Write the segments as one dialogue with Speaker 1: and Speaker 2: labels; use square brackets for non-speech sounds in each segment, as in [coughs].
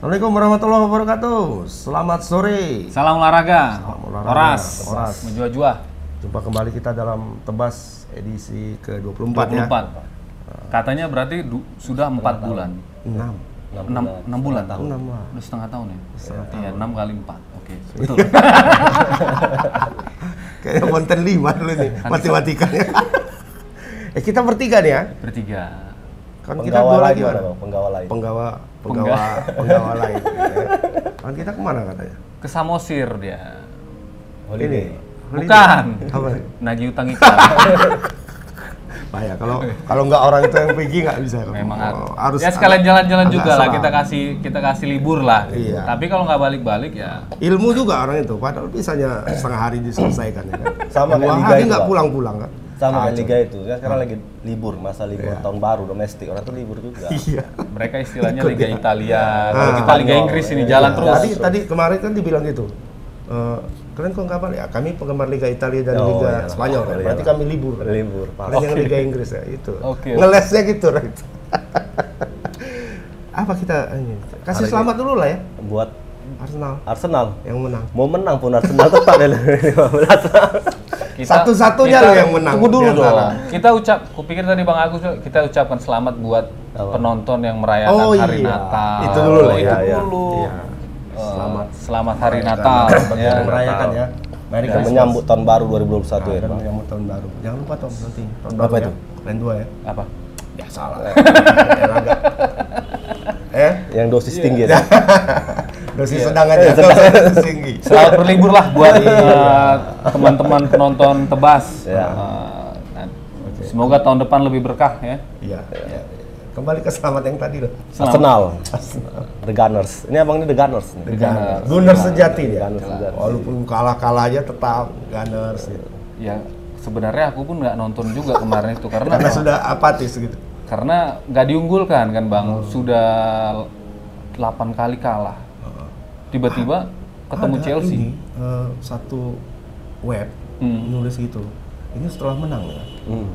Speaker 1: Assalamualaikum warahmatullahi wabarakatuh. Selamat sore.
Speaker 2: Salam olahraga.
Speaker 1: Salam olahraga.
Speaker 2: Oras.
Speaker 1: Oras.
Speaker 2: Menjua-jua.
Speaker 1: Jumpa kembali kita dalam Tebas edisi ke-24 ya.
Speaker 2: 24. Katanya berarti du- sudah 4 bulan.
Speaker 1: 6.
Speaker 2: 6, bulan tahun.
Speaker 1: Enam ah. lah.
Speaker 2: Udah setengah tahun ya? Iya, 6 kali 4. Oke, betul.
Speaker 1: Kayaknya konten 5 dulu nih matematikanya. eh kita bertiga nih ya.
Speaker 2: Bertiga.
Speaker 1: Kan kita
Speaker 3: Penggawa
Speaker 1: dua
Speaker 3: lain
Speaker 1: lagi
Speaker 3: mana
Speaker 1: orang.
Speaker 3: bang? Penggawa lain.
Speaker 1: Penggawa penggawa penggawa lain. ya. Kan kita kemana katanya?
Speaker 2: Ke Samosir dia.
Speaker 3: Holiday.
Speaker 1: Holiday.
Speaker 2: Bukan.
Speaker 1: Apa?
Speaker 2: Nagih utang ikan.
Speaker 1: Bahaya kalau kalau nggak orang itu yang pergi nggak bisa.
Speaker 2: Memang
Speaker 1: Oh,
Speaker 2: harus. Ya sekalian jalan-jalan
Speaker 1: agak
Speaker 2: juga lah.
Speaker 1: salam.
Speaker 2: Kita kasih kita kasih libur lah.
Speaker 1: Iya.
Speaker 2: Tapi kalau nggak balik-balik ya
Speaker 1: Ilmu juga orang itu, padahal bisanya setengah hari diselesaikan ya kan.
Speaker 3: Sama kayak
Speaker 1: Dua
Speaker 3: Liga
Speaker 1: hari
Speaker 3: itu,
Speaker 1: nggak
Speaker 3: Bang.
Speaker 1: pulang-pulang kan.
Speaker 3: Sama kayak liga itu. Kan sekarang lagi libur, masa libur tahun baru domestik. Orang tuh libur juga.
Speaker 1: Iya.
Speaker 2: mereka istilahnya Liga Italia. Kalau kita Liga
Speaker 3: Spanyol.
Speaker 2: Inggris ini jalan
Speaker 3: Iya.
Speaker 2: terus.
Speaker 1: Tadi tadi kemarin kan dibilang gitu. Eh, kalian kok kapan ya? Kami penggemar Liga Italia dan
Speaker 3: Oh,
Speaker 1: Liga
Speaker 3: iyalah.
Speaker 1: Spanyol kan.
Speaker 3: Iyalah.
Speaker 1: Berarti kami libur.
Speaker 3: Libur.
Speaker 1: Kalian yang Liga Inggris ya itu.
Speaker 2: Oke.
Speaker 1: Ngelesnya gitu right. Apa kita ini? Kasih selamat dulu lah ya
Speaker 3: Buat
Speaker 1: Arsenal
Speaker 3: Arsenal.
Speaker 1: yang menang.
Speaker 3: Mau menang pun Arsenal tetap ya 15.
Speaker 2: Kita-
Speaker 1: Satu-satunya
Speaker 2: kita-
Speaker 1: loh yang menang.
Speaker 2: Tunggu dulu
Speaker 1: Yang
Speaker 2: dong.
Speaker 1: kalah.
Speaker 2: Kita ucap, kupikir tadi Bang Agus kita ucapkan selamat buat penonton yang merayakan
Speaker 1: Oh,
Speaker 2: Ya, kan Hari
Speaker 1: iya.
Speaker 2: Natal.
Speaker 1: Itu dulu lah,
Speaker 2: Itu
Speaker 3: iya,
Speaker 2: dulu.
Speaker 1: Iya.
Speaker 2: Eh, selamat Hari Natal.
Speaker 1: Bagi
Speaker 2: ya.
Speaker 1: yang merayakan ya. Merry
Speaker 3: Dan
Speaker 1: Christmas.
Speaker 3: menyambut tahun baru 2021 ya
Speaker 1: dan
Speaker 3: bang.
Speaker 1: menyambut tahun baru. Jangan lupa Tom nanti tahun
Speaker 3: Apa
Speaker 1: baru
Speaker 3: itu?
Speaker 1: ya. Lain dua ya.
Speaker 2: Apa?
Speaker 1: Ya [laughs] salah. Ya, agak. eh,
Speaker 3: Yang dosis tinggi ya.
Speaker 1: dosis sedang aja. Dosis tinggi.
Speaker 2: Selamat berlibur lah buat
Speaker 1: Iya.
Speaker 2: eh, teman-teman penonton tebas.
Speaker 1: Ya.
Speaker 3: Iya.
Speaker 2: Eh, nah, Semoga tahun depan lebih berkah ya.
Speaker 1: Iya. iya. Kembali ke selamat yang tadi loh.
Speaker 3: Arsenal. The Gunners. Ini abang ini The Gunners nih.
Speaker 1: Gunner. Gunner sejati
Speaker 3: The
Speaker 1: dia.
Speaker 3: Gunners juga.
Speaker 1: Walaupun kalah-kalah aja tetap Gunners gitu.
Speaker 2: Ya sebenarnya aku pun nggak nonton juga kemarin itu karena
Speaker 1: Karena sudah apatis gitu.
Speaker 2: karena nggak diunggulkan kan bang
Speaker 1: Hmm.
Speaker 2: sudah 8 kali kalah tiba-tiba ketemu
Speaker 1: Ada
Speaker 2: Chelsea
Speaker 1: ini, eh, satu web nulis gitu. Ini setelah menang ya.
Speaker 3: Hmm.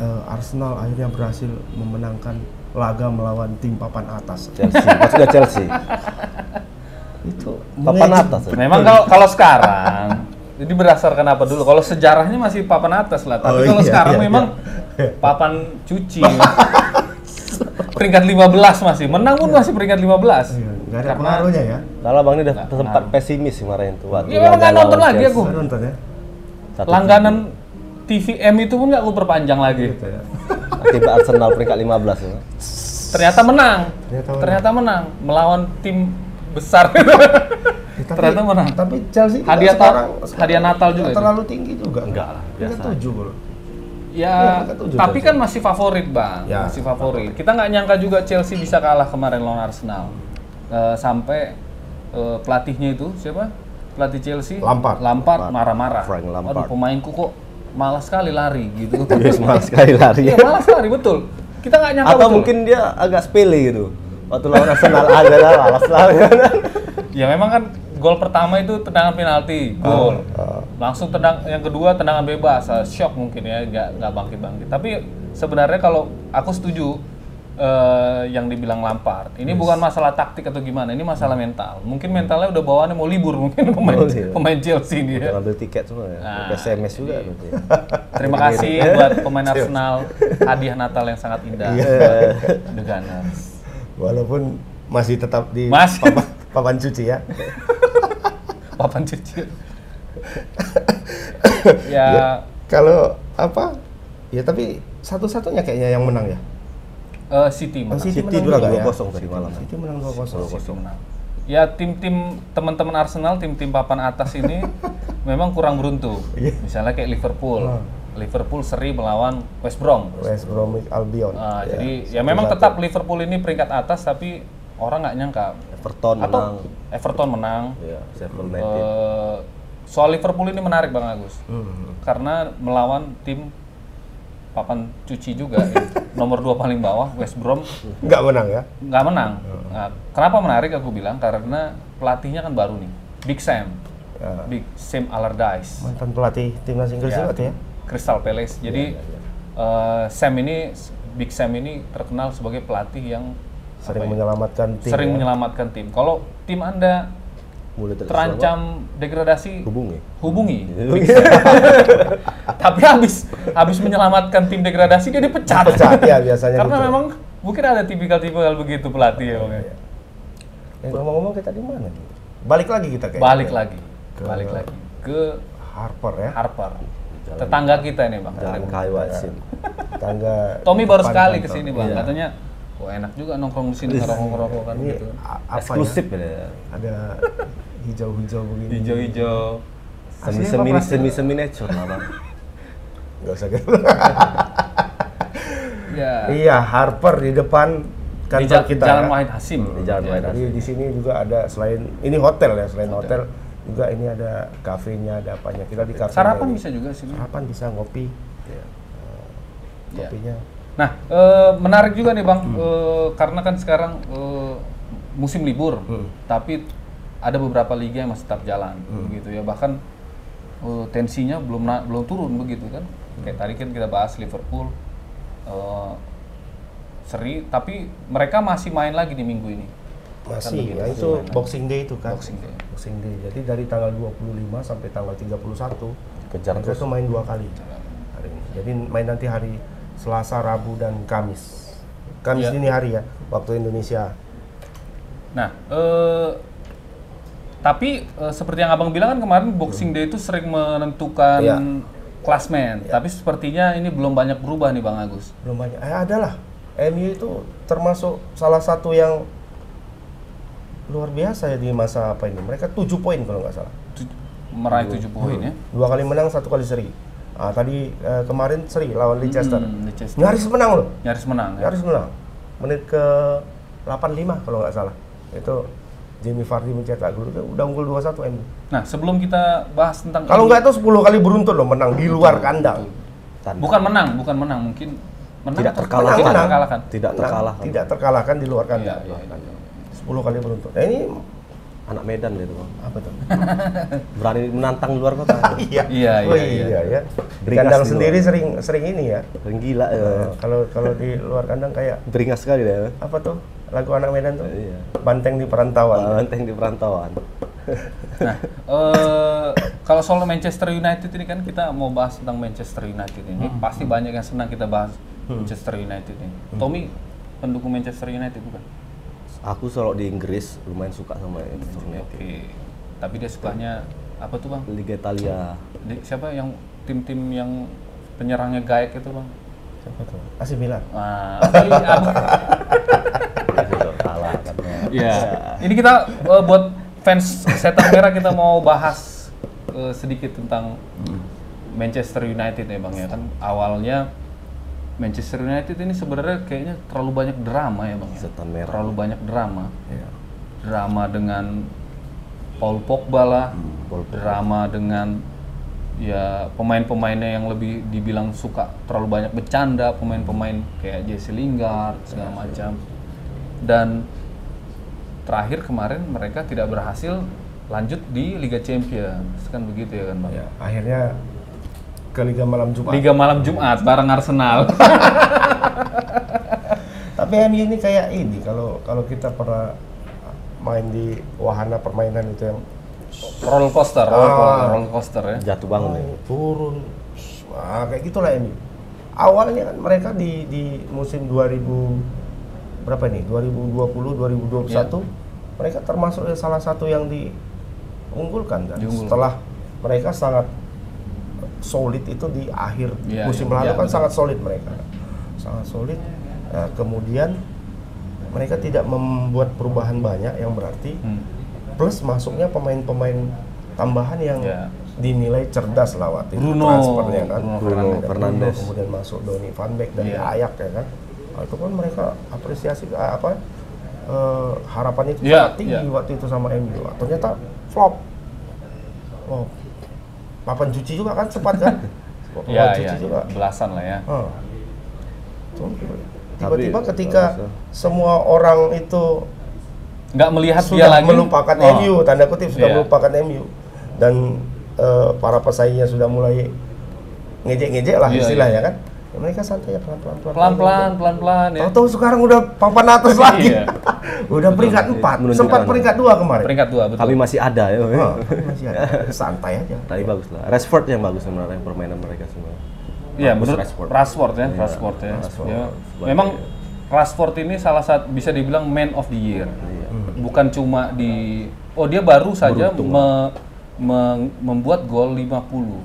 Speaker 1: eh, Arsenal akhirnya berhasil memenangkan laga melawan tim papan atas.
Speaker 3: Chelsea. Maksudnya [laughs] Chelsea.
Speaker 1: Itu
Speaker 3: Papan atas. ya?
Speaker 2: memang kalau kalau sekarang [laughs] jadi berdasarkan apa dulu kalau sejarahnya masih papan atas lah tapi
Speaker 1: Oh,
Speaker 2: kalau
Speaker 1: iya,
Speaker 2: sekarang
Speaker 1: iya, [laughs]
Speaker 2: memang papan cuci peringkat 15 masih menang
Speaker 1: Iya.
Speaker 2: pun masih peringkat 15
Speaker 1: Gak Iya, ada pengaruhnya ya.
Speaker 3: Kalau bang ini udah sempat pesimis kemarin tuh. waktu
Speaker 2: ya memang nggak
Speaker 3: laga
Speaker 2: nonton
Speaker 3: lawan
Speaker 2: lagi
Speaker 3: Chelsea.
Speaker 2: aku
Speaker 1: Nggak nonton ya.
Speaker 3: Satu
Speaker 2: langganan TVM itu pun nggak aku perpanjang lagi
Speaker 1: Gitu ya.
Speaker 3: Akibat Arsenal peringkat 15 ya.
Speaker 2: ternyata menang
Speaker 1: Ternyata
Speaker 2: ternyata,
Speaker 1: menang.
Speaker 2: menang melawan tim besar
Speaker 1: Eh, tapi-
Speaker 2: ternyata menang
Speaker 1: Tapi Chelsea juga
Speaker 2: Hadiah ta-
Speaker 1: sekarang,
Speaker 2: hadiah Natal juga
Speaker 1: nggak
Speaker 2: itu.
Speaker 1: terlalu tinggi juga.
Speaker 3: Enggak lah,
Speaker 1: Kita
Speaker 3: biasa.
Speaker 1: tujuh loh.
Speaker 2: ya
Speaker 1: mereka tujuh
Speaker 2: tapi kan masih favorit bang
Speaker 1: Ya,
Speaker 2: masih favorit kita nggak nyangka juga Chelsea bisa kalah kemarin lawan Arsenal Eh, sampai eh, pelatihnya itu siapa pelatih Chelsea
Speaker 1: Lampard.
Speaker 2: Lampard marah-marah
Speaker 3: Frank Lampard.
Speaker 2: aduh pemainku kok malas sekali lari gitu
Speaker 3: Yes, malah sekali lari.
Speaker 2: iya malas lari betul kita nggak nyangka
Speaker 3: Atau
Speaker 2: betul.
Speaker 3: mungkin dia agak sepele gitu. Waktu lawan
Speaker 2: [laughs]
Speaker 3: Arsenal agak lah, alas lah.
Speaker 2: Ya memang kan gol pertama itu tendangan penalti, gol.
Speaker 3: Ah,
Speaker 2: Langsung tendang yang kedua tendangan bebas, Ah, shock mungkin ya, nggak nggak bangkit bangkit. Tapi sebenarnya kalau aku setuju eh, yang dibilang Lampard, ini bukan masalah taktik atau gimana, ini masalah mental. Mungkin mentalnya udah bawaannya mau libur [laughs] mungkin pemain
Speaker 3: Oh, iya.
Speaker 2: pemain Chelsea ini ya.
Speaker 3: Ngambil tiket semua ya.
Speaker 2: Nah,
Speaker 3: SMS juga berarti. ya.
Speaker 2: Terima kasih buat pemain
Speaker 3: Iya.
Speaker 2: Arsenal hadiah Natal yang sangat indah.
Speaker 3: Iya.
Speaker 2: The Gunners.
Speaker 1: Walaupun masih tetap di
Speaker 3: Iya.
Speaker 2: Masih.
Speaker 1: papan, papan cuci ya.
Speaker 2: Papan
Speaker 3: [laughs]
Speaker 2: cuci. ya
Speaker 1: Kalau apa? Ya tapi satu-satunya kayaknya yang menang ya.
Speaker 2: eh, City
Speaker 1: Oh,
Speaker 2: menang.
Speaker 1: City,
Speaker 3: City
Speaker 1: menang juga
Speaker 3: menang
Speaker 1: ya.
Speaker 3: 2-0 tadi malam.
Speaker 1: City menang 2-0.
Speaker 2: Menang. Ya tim-tim teman-teman Arsenal, tim-tim papan atas ini memang kurang beruntung. Misalnya kayak Liverpool. Liverpool seri melawan West Brom.
Speaker 1: West Bromwich Albion.
Speaker 2: Ah, Jadi ya memang tetap Liverpool ini peringkat atas tapi orang nggak nyangka.
Speaker 3: Everton menang.
Speaker 2: Atau Everton menang.
Speaker 3: Ya, Sheffield United.
Speaker 2: Eh, soal Liverpool ini menarik Bang Agus. Karena melawan tim papan cuci juga ya. nomor dua paling bawah West Brom
Speaker 1: Nggak menang ya.
Speaker 2: nggak menang. Nah, kenapa menarik aku bilang karena pelatihnya kan baru nih, Big Sam,
Speaker 1: Ya.
Speaker 2: Big Sam Allardyce,
Speaker 1: Mantan pelatih timnas Inggris juga tuh ya.
Speaker 2: Crystal Palace. Jadi eh, Sam ini Big Sam ini terkenal sebagai pelatih yang
Speaker 1: sering menyelamatkan tim.
Speaker 2: sering
Speaker 1: ya.
Speaker 2: menyelamatkan tim. Kalau tim Anda
Speaker 3: Mulai ter-
Speaker 2: terancam Iya. degradasi,
Speaker 3: hubungi.
Speaker 2: hubungi.
Speaker 1: Iya.
Speaker 2: [laughs]
Speaker 3: ya?
Speaker 2: Tapi habis habis menyelamatkan tim degradasi dia dipecat.
Speaker 1: Pecat
Speaker 2: [laughs]
Speaker 1: ya biasanya.
Speaker 2: Karena
Speaker 1: gitu. Iya,
Speaker 2: memang mungkin ada tipikal-tipikal begitu pelatih ya, Bang. ya.
Speaker 3: Eh, ngomong-ngomong kita di mana nih?
Speaker 1: balik lagi kita kayak
Speaker 2: Balik lagi, balik lagi ke
Speaker 1: Harper ya.
Speaker 2: Harper. Tetangga kita nih, Bang.
Speaker 3: Jalan Kai Watsin.
Speaker 1: Tangga
Speaker 2: Tommy baru
Speaker 1: depan
Speaker 2: sekali ke
Speaker 1: kantor. Iya.
Speaker 2: sini, Bang.
Speaker 3: Iya.
Speaker 2: Katanya Wah enak juga nongkrong di sini ngerokok-ngerokok kan
Speaker 1: Ini
Speaker 2: gitu.
Speaker 1: a- apa
Speaker 3: Eksklusif
Speaker 1: ya?
Speaker 3: ya.
Speaker 1: [laughs] Ada hijau-hijau begini.
Speaker 2: Hijau-hijau.
Speaker 3: Semi
Speaker 1: Aslinya
Speaker 3: semi
Speaker 1: apa,
Speaker 3: semi semi nature lah bang.
Speaker 1: Nggak usah gitu.
Speaker 2: Ya.
Speaker 1: iya, Harper di depan
Speaker 2: Di
Speaker 1: kantor
Speaker 2: Ja-
Speaker 1: kita.
Speaker 2: Jalan
Speaker 1: ya.
Speaker 2: Wahid Hasim. Iya.
Speaker 3: Di Jalan Wahid
Speaker 1: Jadi di sini juga ada selain ini hotel ya, selain hotel, juga ini ada kafenya, ada apanya. Kita di kafe.
Speaker 2: Sarapan bisa juga sih. Bang.
Speaker 1: Sarapan bisa ngopi. Iya. Eh,
Speaker 2: Ya.
Speaker 1: Kopinya
Speaker 2: Nah, eh, menarik juga nih Bang, eh, karena kan sekarang eh, musim libur, tapi ada beberapa liga yang masih tetap jalan, begitu ya. Bahkan eh, tensinya belum na- belum turun begitu kan. Kayak tadi kan kita bahas Liverpool eh, seri, tapi mereka masih main lagi di minggu ini.
Speaker 1: masih.
Speaker 2: begitu,
Speaker 1: ya,
Speaker 2: masih
Speaker 1: itu
Speaker 2: main.
Speaker 1: Boxing Day itu kan.
Speaker 2: Boxing Day.
Speaker 1: Boxing Day. Jadi dari tanggal 25 sampai tanggal 31
Speaker 3: Kejar
Speaker 1: mereka
Speaker 3: terus.
Speaker 1: tuh main dua kali hari ini. Jadi main nanti hari Selasa, Rabu dan Kamis. Kamis
Speaker 2: Iya.
Speaker 1: dini hari ya waktu Indonesia.
Speaker 2: Nah, eh, tapi eh, seperti yang abang bilang kan kemarin Boxing Day itu sering menentukan
Speaker 1: Iya.
Speaker 2: klasmen, tapi sepertinya ini belum banyak berubah nih bang Agus.
Speaker 1: Belum banyak. Eh adalah MU itu termasuk salah satu yang luar biasa ya di masa apa ini. Mereka 7 poin kalau nggak salah.
Speaker 2: Tu- meraih
Speaker 1: Iya.
Speaker 2: tujuh poin ya.
Speaker 1: Dua kali menang, satu kali seri. Ah, tadi eh, kemarin seri lawan Leicester.
Speaker 2: Hmm, Leicester.
Speaker 1: Nyaris menang loh.
Speaker 2: Nyaris menang ya.
Speaker 1: Nyaris menang. Menit ke 85 kalau nggak salah. Itu Jamie Vardy mencetak gol itu udah unggul 2-1 MU.
Speaker 2: Nah, sebelum kita bahas tentang
Speaker 1: Kalau
Speaker 2: ini,
Speaker 1: nggak itu 10 kali beruntun loh menang di luar kandang.
Speaker 3: Tanpa-
Speaker 2: bukan menang, bukan menang mungkin menang
Speaker 3: Tidak
Speaker 2: atau-
Speaker 3: terkalahkan.
Speaker 2: Tidak terkalahkan.
Speaker 3: tidak
Speaker 1: Menang,
Speaker 3: terkalahkan.
Speaker 1: Nah, Tidak terkalahkan di luar
Speaker 2: Iya,
Speaker 1: kandang.
Speaker 2: iya, iya.
Speaker 1: 10 kali beruntun. Nah, ini
Speaker 3: Anak Medan dia itu bang.
Speaker 1: apa tuh?
Speaker 3: Berani menantang luar
Speaker 2: [laughs]
Speaker 3: kota.
Speaker 1: iya.
Speaker 2: Iya,
Speaker 1: Oh,
Speaker 2: iya,
Speaker 1: iya,
Speaker 2: iya.
Speaker 1: ya. Di
Speaker 3: Beringas
Speaker 1: kandang
Speaker 3: di luar.
Speaker 1: sendiri sering sering ini ya.
Speaker 3: Orang gila ya.
Speaker 1: Kalau kalau di luar kandang kayak
Speaker 3: Beringas sekali dia.
Speaker 2: Iya.
Speaker 3: ya.
Speaker 1: apa tuh? Lagu anak Medan tuh.
Speaker 3: Iya.
Speaker 1: Banteng di
Speaker 2: Iya.
Speaker 1: perantauan.
Speaker 3: Banteng di perantauan.
Speaker 2: Nah, eh, kalau soal Manchester United ini kan kita mau bahas tentang Manchester United ini.
Speaker 1: Hmm.
Speaker 2: Pasti banyak yang senang kita bahas Manchester United ini. Tommy pendukung Manchester United bukan?
Speaker 3: Aku selalu di Inggris lumayan suka sama Manchester
Speaker 2: Oke.
Speaker 3: United.
Speaker 2: Tapi dia sukanya apa tuh bang?
Speaker 3: Liga Italia.
Speaker 2: Di- siapa yang tim-tim yang penyerangnya gaek itu bang?
Speaker 1: Siapa tuh? AC Milan.
Speaker 2: Nah, oke,
Speaker 3: Iya.
Speaker 2: abang-
Speaker 3: Kalah katanya.
Speaker 2: Iya. Ini kita eh, buat fans setan merah kita mau bahas eh, sedikit tentang Manchester United ya bang ya kan awalnya Manchester United ini sebenarnya kayaknya terlalu banyak drama ya bang ya.
Speaker 3: Setan merah.
Speaker 2: Terlalu banyak drama.
Speaker 3: Iya.
Speaker 2: Drama dengan Paul Pogba lah.
Speaker 1: Hmm,
Speaker 3: Paul
Speaker 2: Drama dengan ya pemain-pemainnya yang lebih dibilang suka terlalu banyak bercanda pemain-pemain kayak Jesse Lingard
Speaker 1: Iya,
Speaker 2: segala macam dan terakhir kemarin mereka tidak berhasil lanjut di Liga Champions kan begitu ya kan bang
Speaker 1: Ya, akhirnya ke Liga Malam Jumat.
Speaker 2: Liga malam Jumat bareng
Speaker 1: [laughs]
Speaker 2: Arsenal
Speaker 1: Tapi MU ini kayak ini kalau kalau kita pernah main di wahana permainan itu yang
Speaker 2: roller coaster
Speaker 1: Ah.
Speaker 2: roller, co- roller coaster ya
Speaker 1: Iya,
Speaker 3: Jatuh bangun ya.
Speaker 1: naik, Oh. turun wah kayak gitulah MU. Awalnya kan mereka di di musim 2000 berapa nih? 2020 2021
Speaker 2: Iya.
Speaker 1: mereka termasuk salah satu yang diunggulkan kan.
Speaker 2: Diunggulkan.
Speaker 1: Setelah mereka sangat solid itu di akhir
Speaker 2: Iya,
Speaker 1: musim
Speaker 2: iya,
Speaker 1: lalu
Speaker 2: iya,
Speaker 1: kan
Speaker 2: betul.
Speaker 1: sangat solid mereka sangat solid Nah, kemudian mereka tidak membuat perubahan banyak yang berarti
Speaker 2: Hmm.
Speaker 1: plus masuknya pemain-pemain tambahan yang
Speaker 2: Iya.
Speaker 1: dinilai cerdas lah waktu itu
Speaker 2: Bruno,
Speaker 1: transfernya kan
Speaker 2: Bruno
Speaker 1: Ada
Speaker 3: Fernandes. Fernandes.
Speaker 1: kemudian masuk Donny van Beek dari
Speaker 2: Iya.
Speaker 1: Ajax ya kan Nah, itu kan mereka apresiasi eh, apa eh, harapannya itu
Speaker 2: Iya,
Speaker 1: sangat tinggi
Speaker 2: iya.
Speaker 1: waktu itu sama MU Wah, ternyata flop flop papan cuci juga kan sempat
Speaker 2: [laughs]
Speaker 1: kan papan
Speaker 2: ya,
Speaker 1: cuci
Speaker 2: ya,
Speaker 1: juga
Speaker 2: belasan lah ya
Speaker 1: Ah. Tuh,
Speaker 3: Tapi,
Speaker 1: tiba-tiba ketika
Speaker 3: eh,
Speaker 1: semua orang itu
Speaker 2: nggak melihat dia
Speaker 1: sudah
Speaker 2: lagi
Speaker 1: melupakan
Speaker 2: Oh,
Speaker 1: MU tanda kutip sudah
Speaker 2: Iya.
Speaker 1: melupakan MU dan eh, para pesaingnya sudah mulai ngejek-ngejek lah
Speaker 2: Iya,
Speaker 1: istilahnya kan Ya, mereka santai ya pelan-pelan
Speaker 2: Pelan-pelan, pelan-pelan ya.
Speaker 1: Tahu sekarang udah papan atas lagi.
Speaker 2: Iya.
Speaker 1: [laughs] udah peringkat
Speaker 3: Betul,
Speaker 1: empat,
Speaker 3: menunjukkan.
Speaker 1: sempat peringkat dua kemarin.
Speaker 2: Peringkat dua betul.
Speaker 3: Kami masih ada ya.
Speaker 1: Oh, tapi masih ada. Santai aja.
Speaker 3: Tapi bagus lah. Rashford yang bagus sebenarnya permainan mereka semua.
Speaker 2: Iya,
Speaker 3: Bagus
Speaker 2: menurut
Speaker 3: Rashford.
Speaker 2: Rashford. ya,
Speaker 3: Iya,
Speaker 2: Rashford ya.
Speaker 3: Rashford.
Speaker 2: Ya.
Speaker 3: Sebagai-
Speaker 2: Memang Rashford ini salah satu bisa dibilang man of the year.
Speaker 3: Iya.
Speaker 2: Bukan cuma di oh dia baru saja me- meng- membuat gol 50.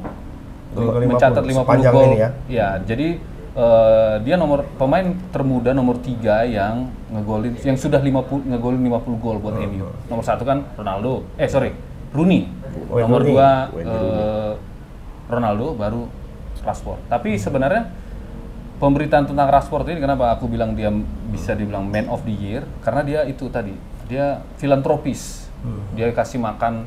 Speaker 1: Gol 50,
Speaker 2: mencatat 50
Speaker 1: sepanjang
Speaker 2: gol.
Speaker 1: ini ya.
Speaker 2: Ya, jadi eh, dia nomor pemain termuda nomor 3 yang ngegolin yang sudah 50 ngegolin 50 gol buat MU. Nomor satu kan Ronaldo. Eh sorry, Rooney.
Speaker 1: Wayne
Speaker 2: nomor
Speaker 1: Rooney.
Speaker 2: 2
Speaker 3: Wayne
Speaker 2: eh, Ronaldo baru Rashford. Tapi sebenarnya pemberitaan tentang Rashford ini kenapa aku bilang dia bisa dibilang man of the year karena dia itu tadi dia filantropis. Dia kasih makan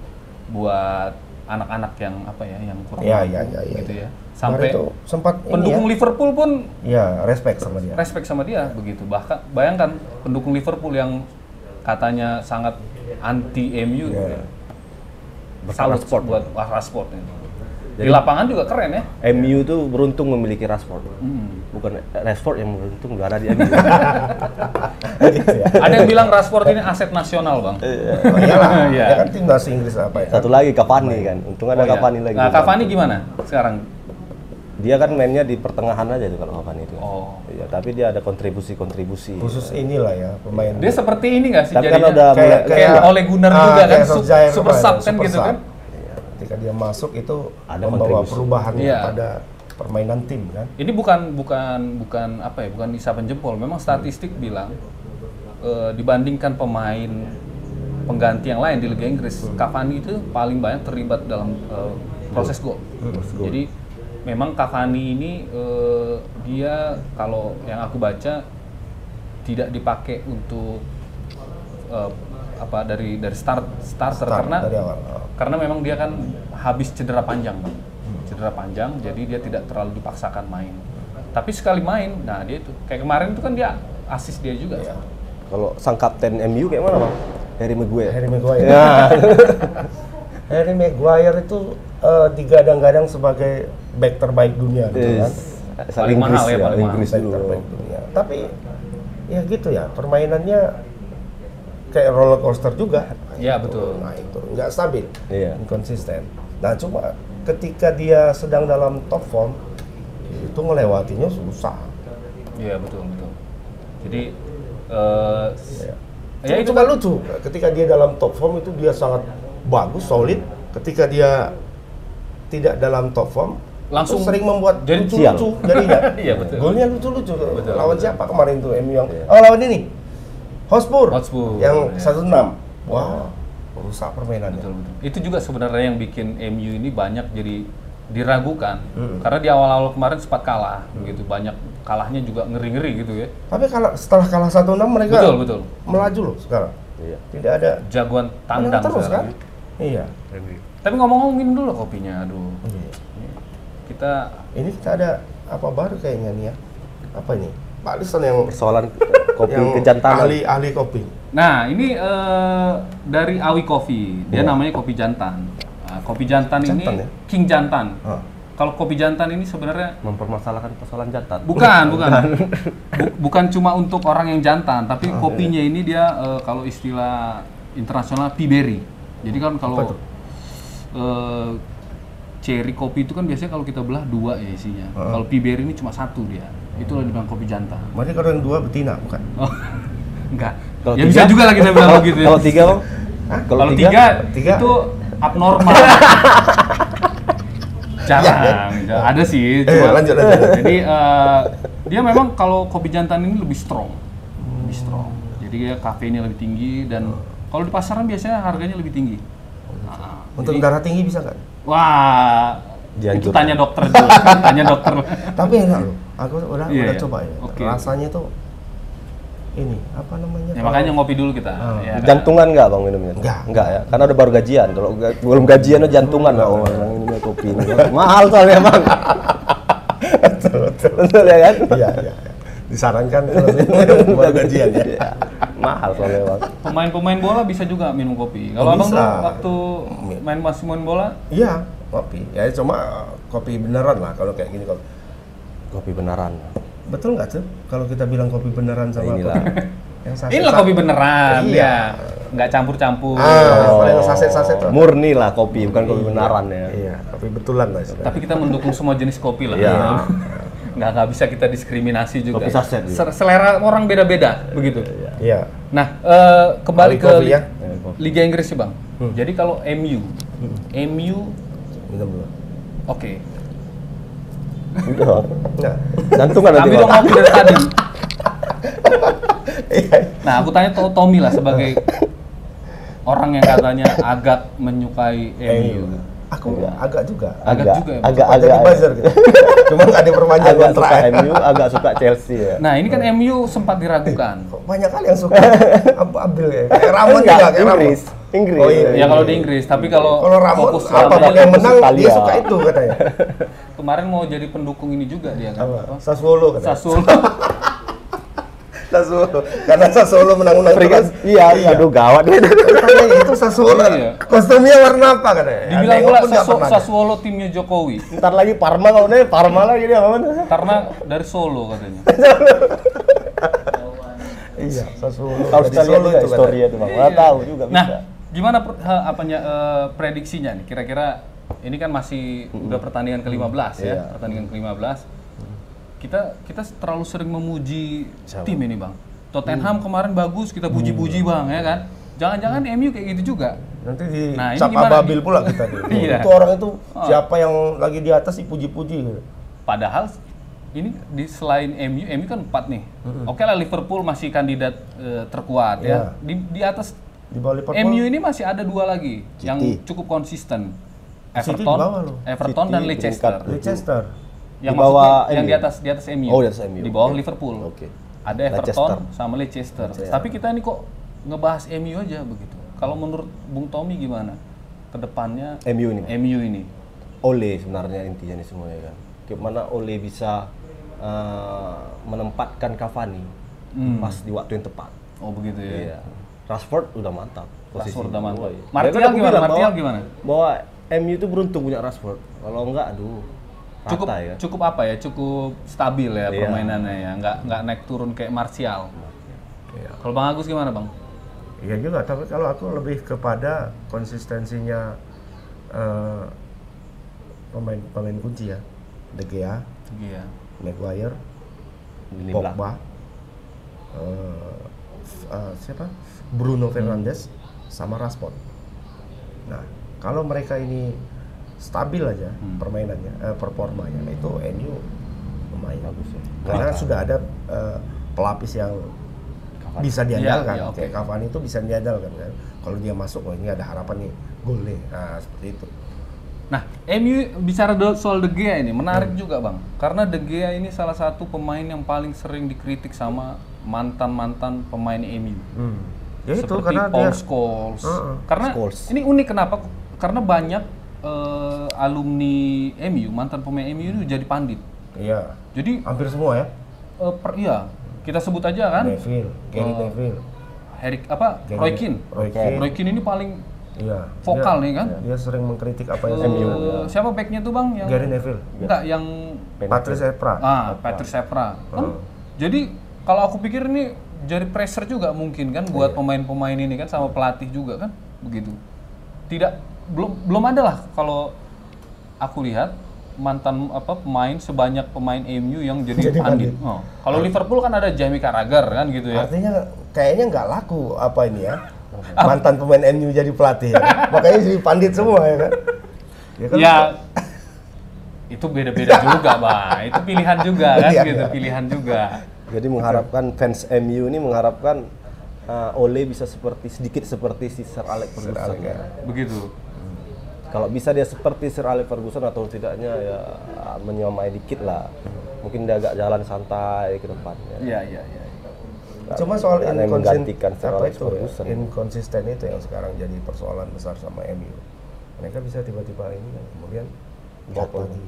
Speaker 2: buat anak-anak yang apa ya yang kurang
Speaker 1: Ya,
Speaker 2: mampu
Speaker 1: ya, ya, ya.
Speaker 2: gitu ya.
Speaker 1: Kemarin
Speaker 2: Sampai
Speaker 1: tuh sempat
Speaker 2: pendukung
Speaker 1: ini
Speaker 2: Liverpool pun
Speaker 1: ya. Ya, respect sama dia.
Speaker 2: respect sama dia begitu. Bahkan bayangkan pendukung Liverpool yang katanya sangat anti MU gitu
Speaker 1: Ya.
Speaker 2: ya. Salut buat wah, Rashford ini. Di lapangan juga keren ya.
Speaker 3: MU tuh beruntung memiliki Rashford.
Speaker 2: Hmm.
Speaker 3: Bukan Rashford yang beruntung nggak ada di MU.
Speaker 1: [laughs] Gitu ya.
Speaker 2: Ada yang bilang Rashford ini aset nasional, Bang.
Speaker 1: Oh, iyalah.
Speaker 2: [laughs] Iya.
Speaker 1: Dia kan timnas Inggris apa ya?
Speaker 3: [laughs] Satu lagi Cavani kan. Untung ada
Speaker 2: Oh, iya.
Speaker 3: Cavani lagi.
Speaker 2: Nah, Cavani gimana sekarang?
Speaker 3: Dia kan mainnya di pertengahan aja tuh kalau Cavani itu.
Speaker 2: Oh.
Speaker 3: Iya, tapi dia ada kontribusi-kontribusi.
Speaker 1: Khusus inilah ya pemain.
Speaker 2: Dia seperti ini nggak sih
Speaker 3: Tapi kan
Speaker 2: jadinya?
Speaker 3: udah
Speaker 1: Kayak-
Speaker 3: mulai-
Speaker 2: kayak Ole Gunnar
Speaker 1: ah,
Speaker 2: juga kan,
Speaker 1: kayak
Speaker 2: su-
Speaker 1: Solskjaer
Speaker 2: super
Speaker 1: kemarin,
Speaker 2: sub kan
Speaker 1: super
Speaker 2: gitu
Speaker 1: sub.
Speaker 2: kan?
Speaker 1: Iya. Ketika dia masuk itu
Speaker 3: Ada
Speaker 1: membawa
Speaker 3: kontribusi.
Speaker 1: perubahan
Speaker 2: Iya.
Speaker 1: pada permainan tim kan.
Speaker 2: Ini bukan bukan bukan apa ya? Bukan isapan jempol. Memang statistik bilang eh, dibandingkan pemain pengganti yang lain di Liga Inggris, Cavani itu paling banyak terlibat dalam eh, proses gol. Jadi memang Cavani ini eh, dia kalau yang aku baca tidak dipakai untuk eh, apa dari dari start starter
Speaker 1: Start
Speaker 2: karena
Speaker 1: dari awal. Oh.
Speaker 2: karena memang dia kan habis cedera panjang Bang. cedera panjang jadi dia tidak terlalu dipaksakan main tapi sekali main nah dia itu kayak kemarin itu kan dia asis dia juga ya?
Speaker 1: Iya.
Speaker 3: Kalau sang kapten MU kayak mana, Bang? Harry Maguire.
Speaker 1: Harry Maguire.
Speaker 2: Iya.
Speaker 1: [laughs] Harry Maguire itu eh, digadang-gadang sebagai back terbaik dunia gitu kan.
Speaker 3: Yes. Asal
Speaker 2: Paling mahal ya, paling
Speaker 3: Inggris
Speaker 1: Back
Speaker 3: dulu. Iya.
Speaker 1: terbaik dunia. Iya. Tapi ya gitu ya, permainannya kayak roller coaster juga.
Speaker 2: Iya,
Speaker 1: Itu,
Speaker 2: betul.
Speaker 1: Nah itu nggak stabil,
Speaker 3: Iya.
Speaker 1: inconsistent. Nah cuma ketika dia sedang dalam top form itu ngelewatinya susah.
Speaker 2: iya betul betul jadi eh, s-
Speaker 1: Iya.
Speaker 2: ya itu
Speaker 1: juga lucu. Ketika dia dalam top form itu dia sangat bagus, solid. Ketika dia tidak dalam top form, itu
Speaker 2: Langsung
Speaker 1: sering membuat
Speaker 2: jadi
Speaker 1: lucu-lucu jadinya.
Speaker 2: [laughs] Iya, betul.
Speaker 1: Golnya lucu-lucu.
Speaker 2: Betul,
Speaker 1: lawan
Speaker 2: betul. Iya.
Speaker 1: siapa kemarin tuh MU yang Oh, lawan ini. Hotspur.
Speaker 2: Hotspur,
Speaker 1: Yang
Speaker 2: iya.
Speaker 1: 1-6. Wah, rusak permainannya.
Speaker 2: Betul, betul. Itu juga sebenarnya yang bikin MU ini banyak jadi diragukan
Speaker 1: Hmm.
Speaker 2: karena di awal-awal kemarin sempat kalah begitu banyak kalahnya juga ngeri-ngeri gitu ya
Speaker 1: Tapi kalau setelah kalah 1-6 mereka
Speaker 2: betul betul
Speaker 1: melaju loh sekarang.
Speaker 3: Iya.
Speaker 1: Tidak ada
Speaker 2: jagoan
Speaker 1: menang
Speaker 2: tandang
Speaker 1: terus kan?
Speaker 2: sekarang.
Speaker 1: Iya.
Speaker 2: tapi ngomong-ngomong minum dulu kopinya aduh
Speaker 1: Iya.
Speaker 2: kita
Speaker 1: Ini kita ada apa baru kayaknya nih ya? Apa ini? Pak Lisan yang
Speaker 2: [laughs]
Speaker 3: Persoalan kopi
Speaker 1: yang
Speaker 3: kejantanan.
Speaker 1: ahli ahli kopi.
Speaker 2: nah ini eh, dari Awi Coffee dia
Speaker 3: Iya.
Speaker 2: namanya kopi jantan Nah, kopi jantan, ini
Speaker 1: Jantan ya?
Speaker 2: king jantan
Speaker 1: Ah.
Speaker 2: kalau kopi jantan ini sebenarnya
Speaker 3: Mempermasalahkan persoalan jantan.
Speaker 2: Bukan, bukan. Bu- bukan cuma untuk orang yang jantan,
Speaker 3: Oh,
Speaker 2: tapi
Speaker 3: iya,
Speaker 2: kopinya ini dia eh, kalau istilah internasional piberi. Jadi kan kalau eh, cherry kopi itu kan biasanya kalau kita belah dua ya isinya. Kalau piberi ini cuma satu dia. Itulah dibilang kopi jantan.
Speaker 1: Berarti kalau yang dua betina bukan?
Speaker 2: Oh, [laughs] enggak.
Speaker 3: Kalau
Speaker 2: ya
Speaker 3: tiga?
Speaker 2: bisa juga lah kita bilang
Speaker 3: Kalau-
Speaker 2: begitu. ya.
Speaker 3: Kalau tiga, Bang?
Speaker 2: Kalau tiga,
Speaker 1: tiga.
Speaker 2: itu abnormal. [laughs] Jarang, jarang. ada
Speaker 1: Iya.
Speaker 2: sih.
Speaker 1: Eh,
Speaker 2: cuma-
Speaker 1: lanjut, lanjut.
Speaker 2: Jadi eh, dia memang kalau kopi jantan ini lebih strong, lebih strong. Jadi ya kafeinnya lebih tinggi dan kalau di pasaran biasanya harganya lebih tinggi. Ah,
Speaker 1: Untuk
Speaker 2: jadi-
Speaker 1: darah tinggi bisa kan?
Speaker 2: wah, itu
Speaker 3: Dianjurkan.
Speaker 2: tanya dokter
Speaker 1: [laughs]
Speaker 2: dulu, tanya dokter.
Speaker 1: Tapi enak loh. Aku udah
Speaker 2: Iya,
Speaker 1: udah
Speaker 2: iya.
Speaker 1: coba ya.
Speaker 2: Oke.
Speaker 1: Rasanya tuh ini apa namanya?
Speaker 2: Ya, makanya ngopi dulu kita.
Speaker 1: Ah,
Speaker 2: ya kan?
Speaker 3: Jantungan nggak bang minumnya?
Speaker 1: Nggak.
Speaker 3: Enggak ya, karena udah baru gajian. Kalau ga- belum gajian tuh jantungan bang. Oh, bang minumnya kopi ini. Mahal soalnya
Speaker 2: [laughs]
Speaker 3: bang. Betul ya kan?
Speaker 1: Kalau- Iya, iya. iya.
Speaker 2: [laughs]
Speaker 1: Disarankan kalau minum buat gajian ya.
Speaker 3: Iya. Mahal soalnya bang.
Speaker 2: Pemain-pemain bola bisa juga minum kopi.
Speaker 1: Oh,
Speaker 2: Kalau abang
Speaker 1: bisa.
Speaker 2: tuh waktu main masih main bola,
Speaker 1: Iya, kopi. Ya cuma eh, kopi beneran lah kalau kayak gini kopi.
Speaker 3: kopi beneran.
Speaker 1: Betul nggak tuh kalau kita bilang kopi beneran
Speaker 3: Nah,
Speaker 1: sama
Speaker 3: inilah.
Speaker 1: kopi yang saset?
Speaker 2: Ini loh kopi beneran,
Speaker 1: Iya.
Speaker 2: ya. Nggak campur-campur.
Speaker 1: Ah, kalau yang saset-saset tuh.
Speaker 3: Oh. Murni lah kopi, bukan kopi beneran ya.
Speaker 1: Iya, kopi betulan guys.
Speaker 2: Tapi kita mendukung semua jenis kopi lah. Gitu.
Speaker 3: Iya.
Speaker 2: [laughs] Nggak, nggak bisa kita diskriminasi juga.
Speaker 3: Kopi saset juga.
Speaker 2: Ser- Selera orang beda-beda, begitu.
Speaker 1: Iya.
Speaker 2: Nah, eh, kembali
Speaker 1: Balik
Speaker 2: ke
Speaker 1: kopi
Speaker 2: li-
Speaker 1: ya. Hmm.
Speaker 2: Liga Inggris sih Bang. Jadi kalau MU, MU,
Speaker 1: Minum dulu.
Speaker 2: oke.
Speaker 3: Udah.
Speaker 1: Enggak.
Speaker 3: Jantungan nanti
Speaker 2: Tapi lo
Speaker 3: kalau.
Speaker 2: ngopi dari tadi.
Speaker 1: Iya.
Speaker 2: Nah, aku tanya to- Tommy lah sebagai orang yang katanya agak menyukai MU.
Speaker 1: iya. Aku agak juga.
Speaker 2: iya. Agak
Speaker 3: Agak,
Speaker 2: juga ya,
Speaker 3: agak,
Speaker 1: Sempat
Speaker 3: agak, iya.
Speaker 1: jadi buzzer gitu. [laughs] Cuma nggak diperpanjang
Speaker 3: agak iya.
Speaker 1: kontrak.
Speaker 3: suka MU, agak suka Chelsea ya.
Speaker 2: Nah, ini kan MU sempat diragukan.
Speaker 1: Kok banyak kali yang suka apa Abil ya? Kayak Ramon
Speaker 3: Enggak,
Speaker 1: juga, kayak Ramon.
Speaker 3: Inggris. Inggris.
Speaker 1: Oh, iya.
Speaker 2: Ya kalau di Inggris, tapi kalau
Speaker 1: Kalau Ramon
Speaker 2: fokus
Speaker 1: apa
Speaker 2: Ramon,
Speaker 1: yang
Speaker 3: fokus
Speaker 1: menang dia
Speaker 3: Italia.
Speaker 1: suka itu katanya.
Speaker 2: kemarin mau jadi pendukung ini juga dia kan.
Speaker 1: Apa?
Speaker 2: Apa?
Speaker 1: Sassuolo katanya. [laughs]
Speaker 2: Sassuolo.
Speaker 1: Sassuolo. Karena Sassuolo menang-menang
Speaker 3: Peringkat,
Speaker 1: terus.
Speaker 3: iya, aduh gawat.
Speaker 1: Katanya itu Sassuolo.
Speaker 2: Iya.
Speaker 1: Kostumnya warna apa katanya?
Speaker 2: Dibilang
Speaker 1: Ya, Nengok
Speaker 2: pula
Speaker 1: pun nggak
Speaker 2: Sasu-
Speaker 1: pernah.
Speaker 2: Sassuolo timnya Jokowi
Speaker 3: Ntar lagi Parma kalau nih, Parma lagi dia kawan.
Speaker 2: karena dari Solo
Speaker 1: [laughs]
Speaker 2: katanya.
Speaker 1: Iya, Sassuolo.
Speaker 3: Tahu
Speaker 1: Dari
Speaker 3: kita lihat
Speaker 1: Solo
Speaker 3: juga
Speaker 1: itu
Speaker 3: historia itu bang, nggak tahu juga bisa.
Speaker 2: Nah, gimana per, ha- apanya eh, prediksinya nih? Kira-kira ini kan masih
Speaker 1: Hmm.
Speaker 2: udah pertandingan ke-15 ya,
Speaker 3: Iya.
Speaker 2: pertandingan ke-15. Kita kita terlalu sering memuji tim ini, Bang.
Speaker 1: Hmm.
Speaker 2: Tottenham kemarin bagus, kita puji-puji, Bang, ya kan? Jangan-jangan MU kayak gitu juga.
Speaker 1: Nanti
Speaker 2: Nah, ini
Speaker 1: dicap
Speaker 2: gimana
Speaker 1: ababil
Speaker 2: nih?
Speaker 1: pula kita nih.
Speaker 2: [laughs] Iya.
Speaker 1: Itu orang itu siapa yang lagi di atas dipuji-puji gitu.
Speaker 2: Padahal ini di selain MU, MU kan 4 nih. Oke lah Liverpool masih kandidat eh, terkuat
Speaker 1: Iya.
Speaker 2: ya. Di, di atas
Speaker 1: Di bawah Liverpool.
Speaker 2: MU ini masih ada dua lagi yang cukup konsisten.
Speaker 1: City di
Speaker 2: Everton,
Speaker 1: bawah loh.
Speaker 2: Everton
Speaker 3: City
Speaker 2: dan Leicester.
Speaker 3: peringkat
Speaker 1: Leicester.
Speaker 2: Yang
Speaker 3: Di bawah
Speaker 2: maksudnya yang
Speaker 3: MU.
Speaker 2: di atas di atas MU.
Speaker 3: Oh, di atas MU,
Speaker 2: Di bawah
Speaker 3: oke.
Speaker 2: Liverpool.
Speaker 3: Oke.
Speaker 2: Ada Everton sama Leicester. Tapi kita ini kok ngebahas MU aja begitu. Kalau menurut Bung Tommy gimana? Kedepannya
Speaker 3: MU ini.
Speaker 2: MU ini.
Speaker 3: Ole sebenarnya intinya nih semuanya kan. Gimana Ole bisa eh, menempatkan Cavani
Speaker 2: Hmm.
Speaker 3: pas di waktu yang tepat.
Speaker 2: Oh begitu ya.
Speaker 3: Iya. Rashford udah mantap. posisi
Speaker 2: Rashford udah mantap.
Speaker 3: kedua, iya.
Speaker 2: Martial
Speaker 3: Mereka udah
Speaker 2: gimana?
Speaker 3: bilang
Speaker 2: Martial
Speaker 3: bahwa-
Speaker 2: gimana?
Speaker 3: Bahwa MU itu beruntung punya Rashford. Kalau enggak, aduh. Rata
Speaker 2: cukup
Speaker 3: ya.
Speaker 2: cukup apa ya cukup stabil ya
Speaker 3: Iya.
Speaker 2: permainannya ya nggak nggak naik turun kayak Martial
Speaker 3: Iya.
Speaker 2: kalau bang Agus gimana bang
Speaker 1: Iya juga, tapi kalau aku lebih kepada konsistensinya eh, pemain pemain kunci ya, De Gea,
Speaker 2: iya
Speaker 1: Maguire,
Speaker 3: Lini belakang.
Speaker 1: Pogba, eh, f- eh, siapa, Bruno Fernandes, sama Rashford. Nah, kalau mereka ini stabil aja
Speaker 2: Hmm.
Speaker 1: permainannya, eh, performanya, nah itu MU lumayan
Speaker 3: Bagus ya.
Speaker 1: Karena
Speaker 3: Mereka.
Speaker 1: sudah ada eh, pelapis yang
Speaker 3: Cavani.
Speaker 1: bisa diandalkan.
Speaker 2: Iya, iya, oke.
Speaker 1: Kayak Cavani itu bisa diandalkan kan. Kalau dia masuk, wah ini ada harapan nih, gol nih. Nah, seperti itu.
Speaker 2: nah MU bicara do- soal De Gea ini menarik
Speaker 3: Hmm.
Speaker 2: juga bang karena De Gea ini salah satu pemain yang paling sering dikritik sama mantan mantan pemain MU
Speaker 1: Ya itu
Speaker 2: Hmm. seperti
Speaker 1: karena
Speaker 2: Paul
Speaker 1: dia
Speaker 2: Scholes.
Speaker 1: Heeh.
Speaker 2: Karena
Speaker 3: Scholes.
Speaker 2: ini unik kenapa? Karena banyak eh, alumni MU, mantan pemain MU itu jadi pandit.
Speaker 1: iya,
Speaker 2: Jadi
Speaker 1: hampir semua ya.
Speaker 2: eh, per iya, kita sebut aja kan
Speaker 1: Neville, Gary Neville,
Speaker 2: Harry apa
Speaker 1: Gary-
Speaker 2: Roy Keane.
Speaker 1: Roy Keane.
Speaker 2: Roy Keane ini paling
Speaker 1: Iya.
Speaker 2: Vokal
Speaker 1: Dia-
Speaker 2: nih kan?
Speaker 1: Dia sering mengkritik apa yang
Speaker 2: eh,
Speaker 1: MU.
Speaker 2: siapa backnya tuh bang yang
Speaker 1: Gary Neville,
Speaker 2: enggak yang
Speaker 1: Patrice Evra.
Speaker 2: ah Patrick Evra. Kan, Jadi kalau aku pikir ini jadi pressure juga mungkin kan buat pemain-pemain ini kan sama pelatih juga kan begitu. Tidak belum belum ada lah kalau aku lihat mantan apa pemain sebanyak pemain MU yang jadi, pandit. Oh. Kalau Liverpool kan ada Jamie Carragher kan gitu ya.
Speaker 1: Artinya kayaknya nggak laku apa ini ya. Mantan pemain MU jadi pelatih. ya. Makanya jadi pandit semua ya kan. Ya kan?
Speaker 2: ya itu
Speaker 1: [laughs]
Speaker 2: beda-beda juga, Bang. Itu pilihan juga kan
Speaker 1: Iya,
Speaker 2: gitu,
Speaker 1: iya.
Speaker 2: pilihan juga.
Speaker 3: Jadi mengharapkan fans MU ini mengharapkan uh, Ole bisa seperti sedikit seperti si Sir Alex Ferguson.
Speaker 1: Iya. ya.
Speaker 2: Begitu.
Speaker 3: Kalau bisa dia seperti Sir Alex Ferguson atau tidaknya ya menyamai dikit lah. Mungkin dia agak jalan santai ke depannya.
Speaker 2: Iya, iya, iya.
Speaker 1: Cuma soal
Speaker 3: Ada yang
Speaker 1: inkonsin-
Speaker 3: menggantikan Sir
Speaker 1: apa
Speaker 3: Alex
Speaker 1: itu ya,
Speaker 3: Ferguson.
Speaker 1: inkonsisten itu yang sekarang jadi persoalan besar sama MU. Mereka bisa tiba-tiba ini kan, kemudian drop lagi.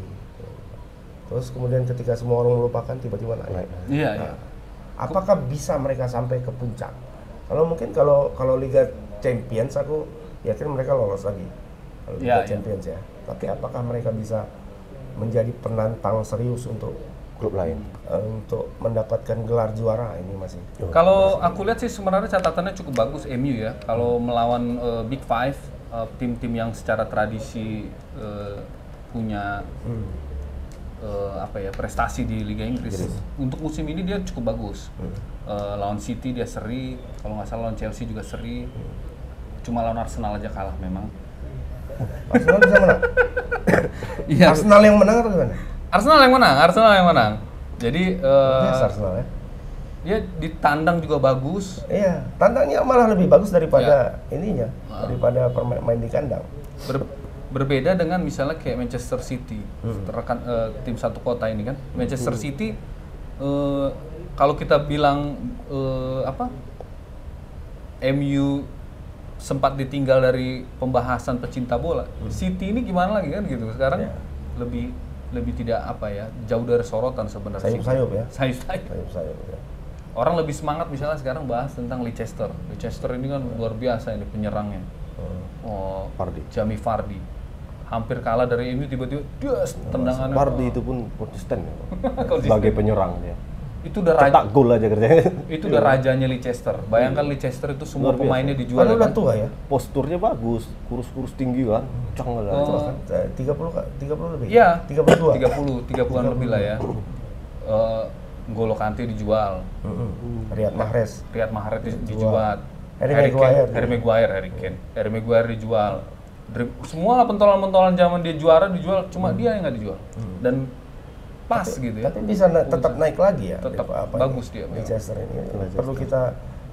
Speaker 1: Terus kemudian ketika semua orang melupakan tiba-tiba naik.
Speaker 3: Naik.
Speaker 2: Iya, iya.
Speaker 1: Apakah bisa mereka sampai ke puncak? Kalau mungkin kalau kalau Liga Champions aku yakin mereka lolos lagi. Kalau Liga
Speaker 2: Ya, ya.
Speaker 1: Champions ya. Tapi apakah mereka bisa menjadi penantang serius untuk
Speaker 3: klub lain.
Speaker 1: eh, untuk mendapatkan gelar juara ini masih.
Speaker 2: Kalau aku lihat sih sebenarnya catatannya cukup bagus MU ya. Kalau melawan eh, Big Five, eh, tim-tim yang secara tradisi eh, punya
Speaker 1: Hmm.
Speaker 2: eh, apa ya prestasi di Liga Inggris. Untuk musim ini dia cukup bagus.
Speaker 1: Hmm.
Speaker 2: Eh, lawan City dia seri, kalau nggak salah lawan Chelsea juga seri.
Speaker 1: Hmm.
Speaker 2: Cuma lawan Arsenal aja kalah memang.
Speaker 1: Arsenal bisa
Speaker 2: [laughs]
Speaker 1: menang.
Speaker 2: Iya.
Speaker 1: Arsenal yang menang atau
Speaker 2: Eh.
Speaker 1: gimana?
Speaker 2: Arsenal yang menang, Arsenal yang menang. Jadi eh,
Speaker 1: Yes, Arsenal ya.
Speaker 2: dia ditandang juga bagus.
Speaker 1: Iya, tandangnya malah lebih bagus daripada
Speaker 2: Ya.
Speaker 1: ininya,
Speaker 2: Ah.
Speaker 1: daripada perma- main di kandang.
Speaker 2: Ber- berbeda dengan misalnya kayak Manchester City rekan eh, tim satu kota ini kan Manchester City eh, kalau kita bilang eh, apa MU sempat ditinggal dari pembahasan pecinta bola City ini gimana lagi kan gitu sekarang lebih lebih tidak apa ya jauh dari sorotan sebenarnya
Speaker 1: Sayup-sayup ya.
Speaker 2: Sayup-sayup.
Speaker 1: Sayup-sayup ya.
Speaker 2: orang lebih semangat misalnya sekarang bahas tentang Leicester Leicester ini kan luar biasa ini penyerangnya oh
Speaker 3: Vardy.
Speaker 2: Jamie Vardy hampir kalah dari MU tiba-tiba das tendangannya
Speaker 3: Bardi
Speaker 2: [laughs]
Speaker 3: itu pun konsisten ya.
Speaker 2: Konsisten.
Speaker 3: sebagai penyerang dia.
Speaker 2: itu udah raja
Speaker 3: Cetak gol aja kerjanya. [laughs]
Speaker 2: itu udah rajanya Leicester bayangkan Leicester itu semua
Speaker 3: Luar biasa.
Speaker 2: pemainnya dijual
Speaker 1: Padahal
Speaker 2: ya
Speaker 1: udah
Speaker 2: kan?
Speaker 1: tua ya.
Speaker 3: Posturnya bagus, kurus-kurus tinggi kan. Cang lah.
Speaker 2: Oh.
Speaker 1: Eh, 30 ka- 30 lebih.
Speaker 2: Iya.
Speaker 1: 32.
Speaker 2: 30 30-an lebih lah ya Eh Golo Kante dijual
Speaker 1: Mm-mm.
Speaker 2: Hmm. Nah,
Speaker 1: Riyad Mahrez.
Speaker 2: Riyad Mahrez di- dijual.
Speaker 1: Harry
Speaker 2: Kane,
Speaker 1: Maguire.
Speaker 2: Harry Maguire, Harry Kane. Harry Maguire dijual. Dri- Semua lah pentolan-pentolan zaman dia juara dijual, cuma dia yang nggak dijual. Dan pas gitu ya.
Speaker 1: Hmm. Tapi bisa na- tetap naik lagi ya.
Speaker 2: Tetap
Speaker 1: Liverpool,
Speaker 2: bagus
Speaker 1: ini,
Speaker 2: dia, iya. memang.
Speaker 1: Leicester ini perlu kita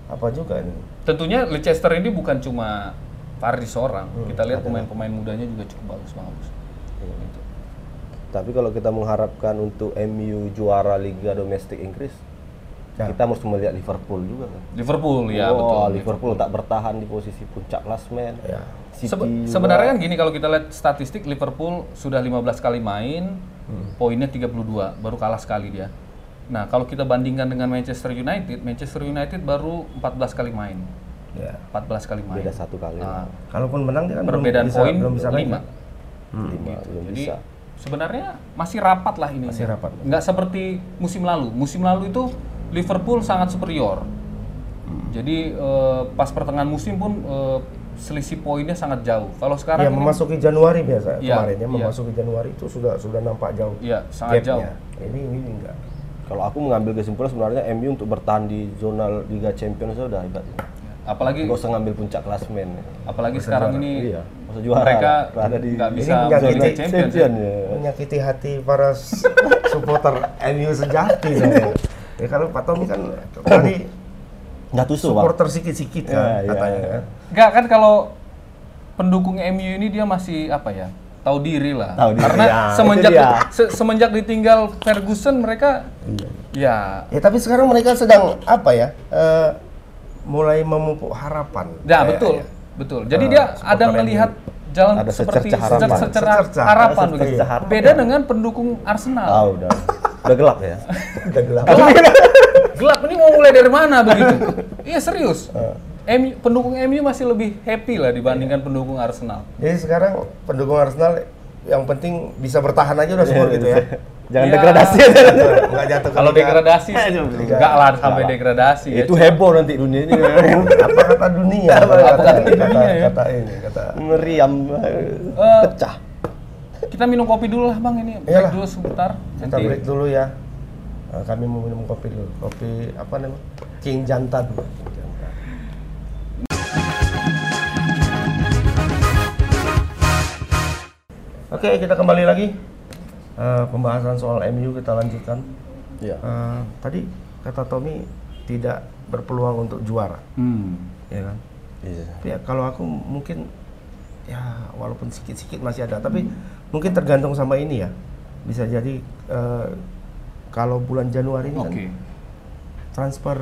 Speaker 1: apa juga nih?
Speaker 2: Tentunya Leicester ini bukan cuma Vardy seorang.
Speaker 1: Hmm.
Speaker 2: Kita lihat pemain-pemain mudanya juga cukup bagus, bagus. Gitu.
Speaker 3: Tapi kalau kita mengharapkan untuk MU juara Liga Domestik Inggris,
Speaker 1: Ya.
Speaker 3: kita harus melihat Liverpool juga kan.
Speaker 2: Liverpool ya betul.
Speaker 3: Wah, Liverpool tak bertahan di posisi puncak klasmen.
Speaker 1: Ya.
Speaker 3: City
Speaker 2: Sebe-
Speaker 3: juga.
Speaker 2: sebenarnya kan gini kalau kita lihat statistik Liverpool sudah 15 kali main,
Speaker 3: Hmm.
Speaker 2: poinnya 32, baru kalah sekali dia. Nah, kalau kita bandingkan dengan Manchester United, Manchester United baru 14 kali main.
Speaker 1: Ya.
Speaker 2: Iya. 14 kali main.
Speaker 3: beda satu kali.
Speaker 2: Nah,
Speaker 1: Kalaupun menang dia kan belum
Speaker 2: perbedaan
Speaker 1: bisa-
Speaker 2: poin
Speaker 1: belum bisa naik. Iya,
Speaker 2: 5. Hmm.
Speaker 3: Lima, belum
Speaker 2: Jadi
Speaker 3: bisa.
Speaker 2: sebenarnya masih rapat lah ini.
Speaker 1: Masih rapat.
Speaker 2: Nggak seperti musim lalu. Musim lalu itu Liverpool sangat superior.
Speaker 3: Hmm.
Speaker 2: Jadi eh, pas pertengahan musim pun eh, selisih poinnya sangat jauh. Kalau sekarang
Speaker 1: Ya
Speaker 2: ini
Speaker 1: memasuki Januari biasa
Speaker 2: Iya,
Speaker 1: kemarin ya
Speaker 2: iya.
Speaker 1: memasuki Januari itu sudah sudah nampak jauh.
Speaker 2: Iya, sangat jauh.
Speaker 1: gapnya. Ini ini enggak.
Speaker 3: Kalau aku mengambil kesimpulan sebenarnya MU untuk bertahan di zona Liga Champions itu udah hebat.
Speaker 2: Hmm. Apalagi
Speaker 3: Gak usah ngambil puncak klasmen.
Speaker 2: apalagi sekarang ini
Speaker 3: Iya, masa juara.
Speaker 2: Hmm. mereka
Speaker 3: berada di
Speaker 2: nggak bisa
Speaker 1: Ini nggak
Speaker 2: zona
Speaker 1: gini,
Speaker 2: Champions. ya.
Speaker 3: Champion ya.
Speaker 1: menyakiti hati para s- supporter MU sejati
Speaker 2: [laughs]
Speaker 1: saya. Ya kalau Pak Tommy kan tadi
Speaker 3: Nggak tusuk, Bang.
Speaker 1: supporter sikit-sikit kan
Speaker 2: Iya,
Speaker 3: Ya, ya,
Speaker 1: katanya
Speaker 3: ya.
Speaker 1: kan.
Speaker 2: Nggak kan kalau pendukung MU ini dia masih apa ya? Tahu diri lah.
Speaker 3: Tahu diri,
Speaker 2: Karena
Speaker 3: ya, itu
Speaker 2: semenjak
Speaker 3: dia.
Speaker 2: se- semenjak ditinggal Ferguson mereka
Speaker 3: Iya.
Speaker 2: ya
Speaker 1: Ya tapi sekarang mereka sedang apa ya? eh, mulai memupuk harapan.
Speaker 2: Nah,
Speaker 3: Iya,
Speaker 1: Kayak-
Speaker 2: betul, betul. Jadi
Speaker 1: Eh,
Speaker 2: dia
Speaker 1: supporter
Speaker 2: ada
Speaker 1: MU.
Speaker 2: melihat jalan
Speaker 3: Ada
Speaker 2: seperti
Speaker 3: secercah harapan.
Speaker 2: secer- secercah
Speaker 1: Secercah,
Speaker 2: harapan
Speaker 3: ada
Speaker 2: begitu.
Speaker 3: secercah harapan.
Speaker 2: Beda dengan pendukung Arsenal.
Speaker 3: Ah, udah. Udah gelap
Speaker 2: [laughs]
Speaker 3: ya.
Speaker 1: [laughs] Udah gelap.
Speaker 2: Gelap ini mau mulai dari mana begitu? Iya serius. MU, pendukung MU masih lebih happy lah
Speaker 1: Iya.
Speaker 2: dibandingkan pendukung Arsenal.
Speaker 1: [laughs] Jadi sekarang pendukung Arsenal yang penting bisa bertahan aja udah semua gitu
Speaker 2: [laughs]
Speaker 1: ya.
Speaker 3: Jangan
Speaker 2: Ya.
Speaker 3: degradasi.
Speaker 1: Enggak jatuh ke
Speaker 2: Kalau
Speaker 1: liga.
Speaker 2: degradasi,
Speaker 1: [laughs]
Speaker 2: enggak lah sampai degradasi. ya.
Speaker 3: [laughs] itu heboh nanti dunia ini. [laughs]
Speaker 1: apa kata
Speaker 2: [laughs]
Speaker 1: dunia? Apa
Speaker 2: kata dunia, ya?
Speaker 1: kata ini, kata
Speaker 3: Meriam
Speaker 2: Eh,
Speaker 3: pecah.
Speaker 2: kita minum kopi dulu lah bang ini.
Speaker 1: Iyalah.
Speaker 2: Break dulu sebentar.
Speaker 1: Kita
Speaker 2: Nanti
Speaker 1: break dulu ya. Eh, Kami mau minum kopi dulu. Kopi apa namanya? King Jantan. Oke, kita kembali lagi. Eh, pembahasan soal MU kita lanjutkan.
Speaker 3: Iya.
Speaker 1: Eh, tadi kata Tommy tidak berpeluang untuk juara,
Speaker 2: Hmm.
Speaker 1: ya kan?
Speaker 3: Iya.
Speaker 1: Tapi ya, kalau aku mungkin ya walaupun sikit-sikit masih ada, tapi mungkin tergantung sama ini ya. Bisa jadi eh, kalau bulan Januari ini
Speaker 2: Oke.
Speaker 1: kan transfer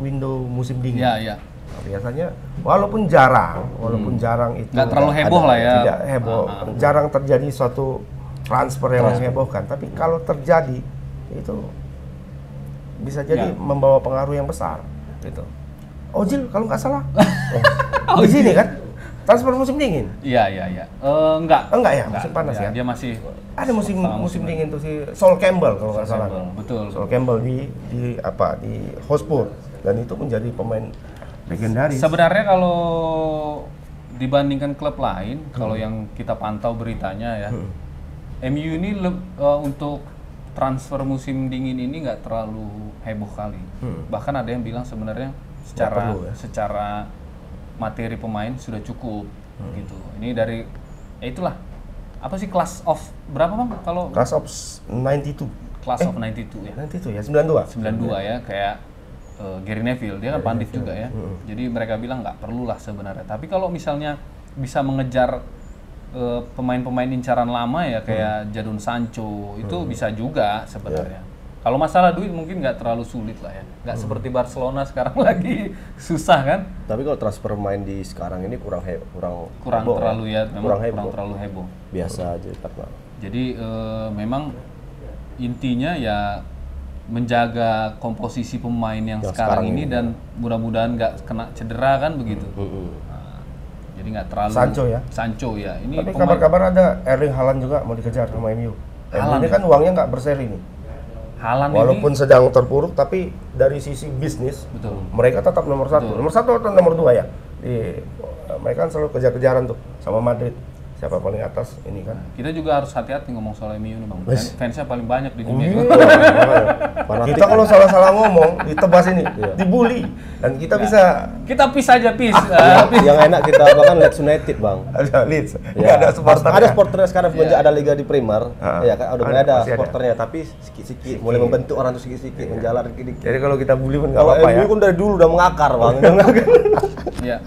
Speaker 1: window musim dingin.
Speaker 2: Ya ya.
Speaker 1: Nah, biasanya walaupun jarang, walaupun jarang itu
Speaker 2: Hmm. Nggak terlalu heboh lah ya.
Speaker 1: Tidak heboh. Jarang terjadi suatu transfer yang menghebohkan, tapi kalau terjadi itu bisa jadi
Speaker 2: Ya.
Speaker 1: membawa pengaruh yang besar gitu. Ojil kalau nggak
Speaker 2: [laughs]
Speaker 1: salah. Oh, di sini kan transfer musim dingin.
Speaker 2: Iya iya iya. Eh, enggak. Iya,
Speaker 1: Oh, enggak ya, musim panas ya.
Speaker 2: Dia masih
Speaker 1: Ada musim
Speaker 2: Sama
Speaker 1: musim
Speaker 2: musim
Speaker 1: dingin tuh si Sol Campbell kalau nggak salah.
Speaker 2: Campbell, betul.
Speaker 1: Sol Campbell di di apa di Hotspur dan itu menjadi pemain legendaris.
Speaker 2: Sebenarnya kalau dibandingkan klub lain, kalau
Speaker 1: Hmm.
Speaker 2: yang kita pantau beritanya ya, MU ini leb- eh, untuk transfer musim dingin ini nggak terlalu heboh kali. Bahkan ada yang bilang sebenarnya secara
Speaker 1: Hmm. perlu ya.
Speaker 2: secara materi pemain sudah cukup
Speaker 1: Hmm.
Speaker 2: gitu. Ini dari ya itulah apa sih class of berapa bang kalau
Speaker 1: Class of 92.
Speaker 2: class of 92 ya?
Speaker 1: 92 ya 92.
Speaker 2: 92 ya kayak eh, Gary Neville dia kan pandit juga ya jadi mereka bilang nggak perlulah sebenarnya tapi kalau misalnya bisa mengejar eh, pemain-pemain incaran lama ya kayak Jadon Sancho itu bisa juga sebenarnya kalau masalah duit mungkin nggak terlalu sulit lah ya nggak seperti Barcelona sekarang [laughs] lagi susah kan
Speaker 3: Tapi kalau transfer main di sekarang ini kurang he- kurang
Speaker 2: kurang
Speaker 3: heboh
Speaker 2: terlalu ya memang kurang,
Speaker 3: kurang heboh.
Speaker 2: terlalu heboh
Speaker 3: Biasa aja karena
Speaker 1: [laughs]
Speaker 2: Jadi eh, memang intinya ya menjaga komposisi pemain yang,
Speaker 3: Yang
Speaker 2: sekarang,
Speaker 3: sekarang
Speaker 2: ini ya. dan mudah-mudahan nggak kena cedera kan begitu. Nah, jadi nggak terlalu
Speaker 1: Sancho ya?
Speaker 2: Sancho ya. Ini
Speaker 1: Tapi
Speaker 2: pemain
Speaker 1: kabar-kabar ada Erling Haaland juga mau dikejar sama MU. MU
Speaker 2: Haaland
Speaker 1: ini
Speaker 2: ya?
Speaker 1: kan uangnya nggak berseri nih.
Speaker 2: Haaland
Speaker 1: Walaupun
Speaker 2: ini
Speaker 1: sedang terpuruk tapi dari sisi bisnis
Speaker 2: betul.
Speaker 1: mereka tetap nomor satu. Nomor satu atau nomor dua ya? Di, mereka kan selalu kejar-kejaran tuh sama Madrid. Siapa paling atas ini kan?
Speaker 2: Kita juga harus hati-hati ngomong soal MU ini bang. Fan- Fansnya paling banyak di dunia.
Speaker 1: Iya.
Speaker 3: Fanatik.
Speaker 1: kita kalau salah-salah ngomong ditebas ini, dibully dan kita bisa
Speaker 2: Kita pis aja pis.
Speaker 3: yang,
Speaker 1: iya.
Speaker 2: Ah, pis.
Speaker 3: yang enak kita bahkan Leeds United bang.
Speaker 1: [laughs] ada leads,
Speaker 3: Ya.
Speaker 1: ada supporter.
Speaker 3: Ada supporternya sekarang semenjak ada liga di Primer,
Speaker 1: Ah.
Speaker 3: ya kan udah
Speaker 1: Ada,
Speaker 3: mulai ada
Speaker 1: masih ada.
Speaker 3: supporternya, tapi sedikit-sedikit mulai membentuk orang tuh sedikit-sedikit menjalar sedikit.
Speaker 1: Jadi kalau kita bully pun nggak
Speaker 3: Kalau
Speaker 1: apa-apa ya.
Speaker 3: MU kan dari dulu udah mengakar bang.
Speaker 1: [laughs]
Speaker 2: Ya.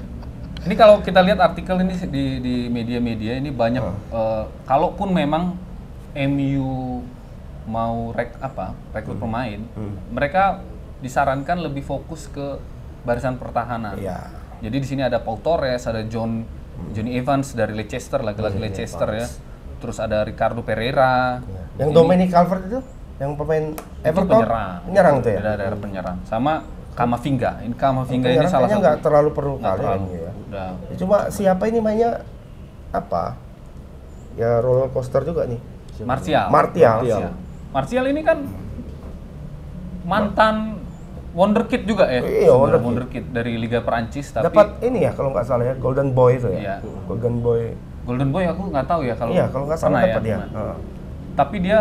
Speaker 2: Ini kalau kita lihat artikel ini sih di di media-media ini banyak
Speaker 1: Ah.
Speaker 2: eh, kalaupun memang MU mau rek apa rekrut
Speaker 1: Hmm.
Speaker 2: pemain, mereka disarankan lebih fokus ke barisan pertahanan.
Speaker 1: Iya. Hmm.
Speaker 2: Jadi di sini ada Paul Torres, ada John Johnny Evans dari Leicester, lagi-lagi
Speaker 1: Iya,
Speaker 2: Leicester ya. Terus ada Ricardo Pereira.
Speaker 1: Yang Dominic Calvert itu, yang pemain
Speaker 2: Itu
Speaker 1: Everton,
Speaker 2: penyerang.
Speaker 1: penyerang tuh ya.
Speaker 2: Ada ada penyerang. Sama Kamavinga. Ini Kamavinga ini
Speaker 1: Penyerang
Speaker 2: salah
Speaker 1: Iya, kayaknya
Speaker 2: satu.
Speaker 1: nggak terlalu perlu
Speaker 2: Nggak
Speaker 1: kali
Speaker 2: terlalu.
Speaker 1: ini ya.
Speaker 2: Udah.
Speaker 1: Ya, Cuma siapa ini mainnya apa? Ya roller coaster juga nih.
Speaker 2: Martial.
Speaker 1: Martial.
Speaker 3: Martial.
Speaker 2: Martial ini kan mantan wonderkid juga ya.
Speaker 1: Iya,
Speaker 2: Sebenarnya
Speaker 1: wonderkid.
Speaker 2: wonderkid dari Liga Perancis tapi
Speaker 1: Dapat ini ya kalau nggak salah ya Golden Boy itu ya.
Speaker 2: Iya.
Speaker 1: Golden Boy.
Speaker 2: Golden Boy aku nggak tahu ya kalau
Speaker 1: Iya kalau nggak salah
Speaker 2: pernah
Speaker 1: dapat ya.
Speaker 2: cuman.
Speaker 1: Heeh.
Speaker 2: Tapi dia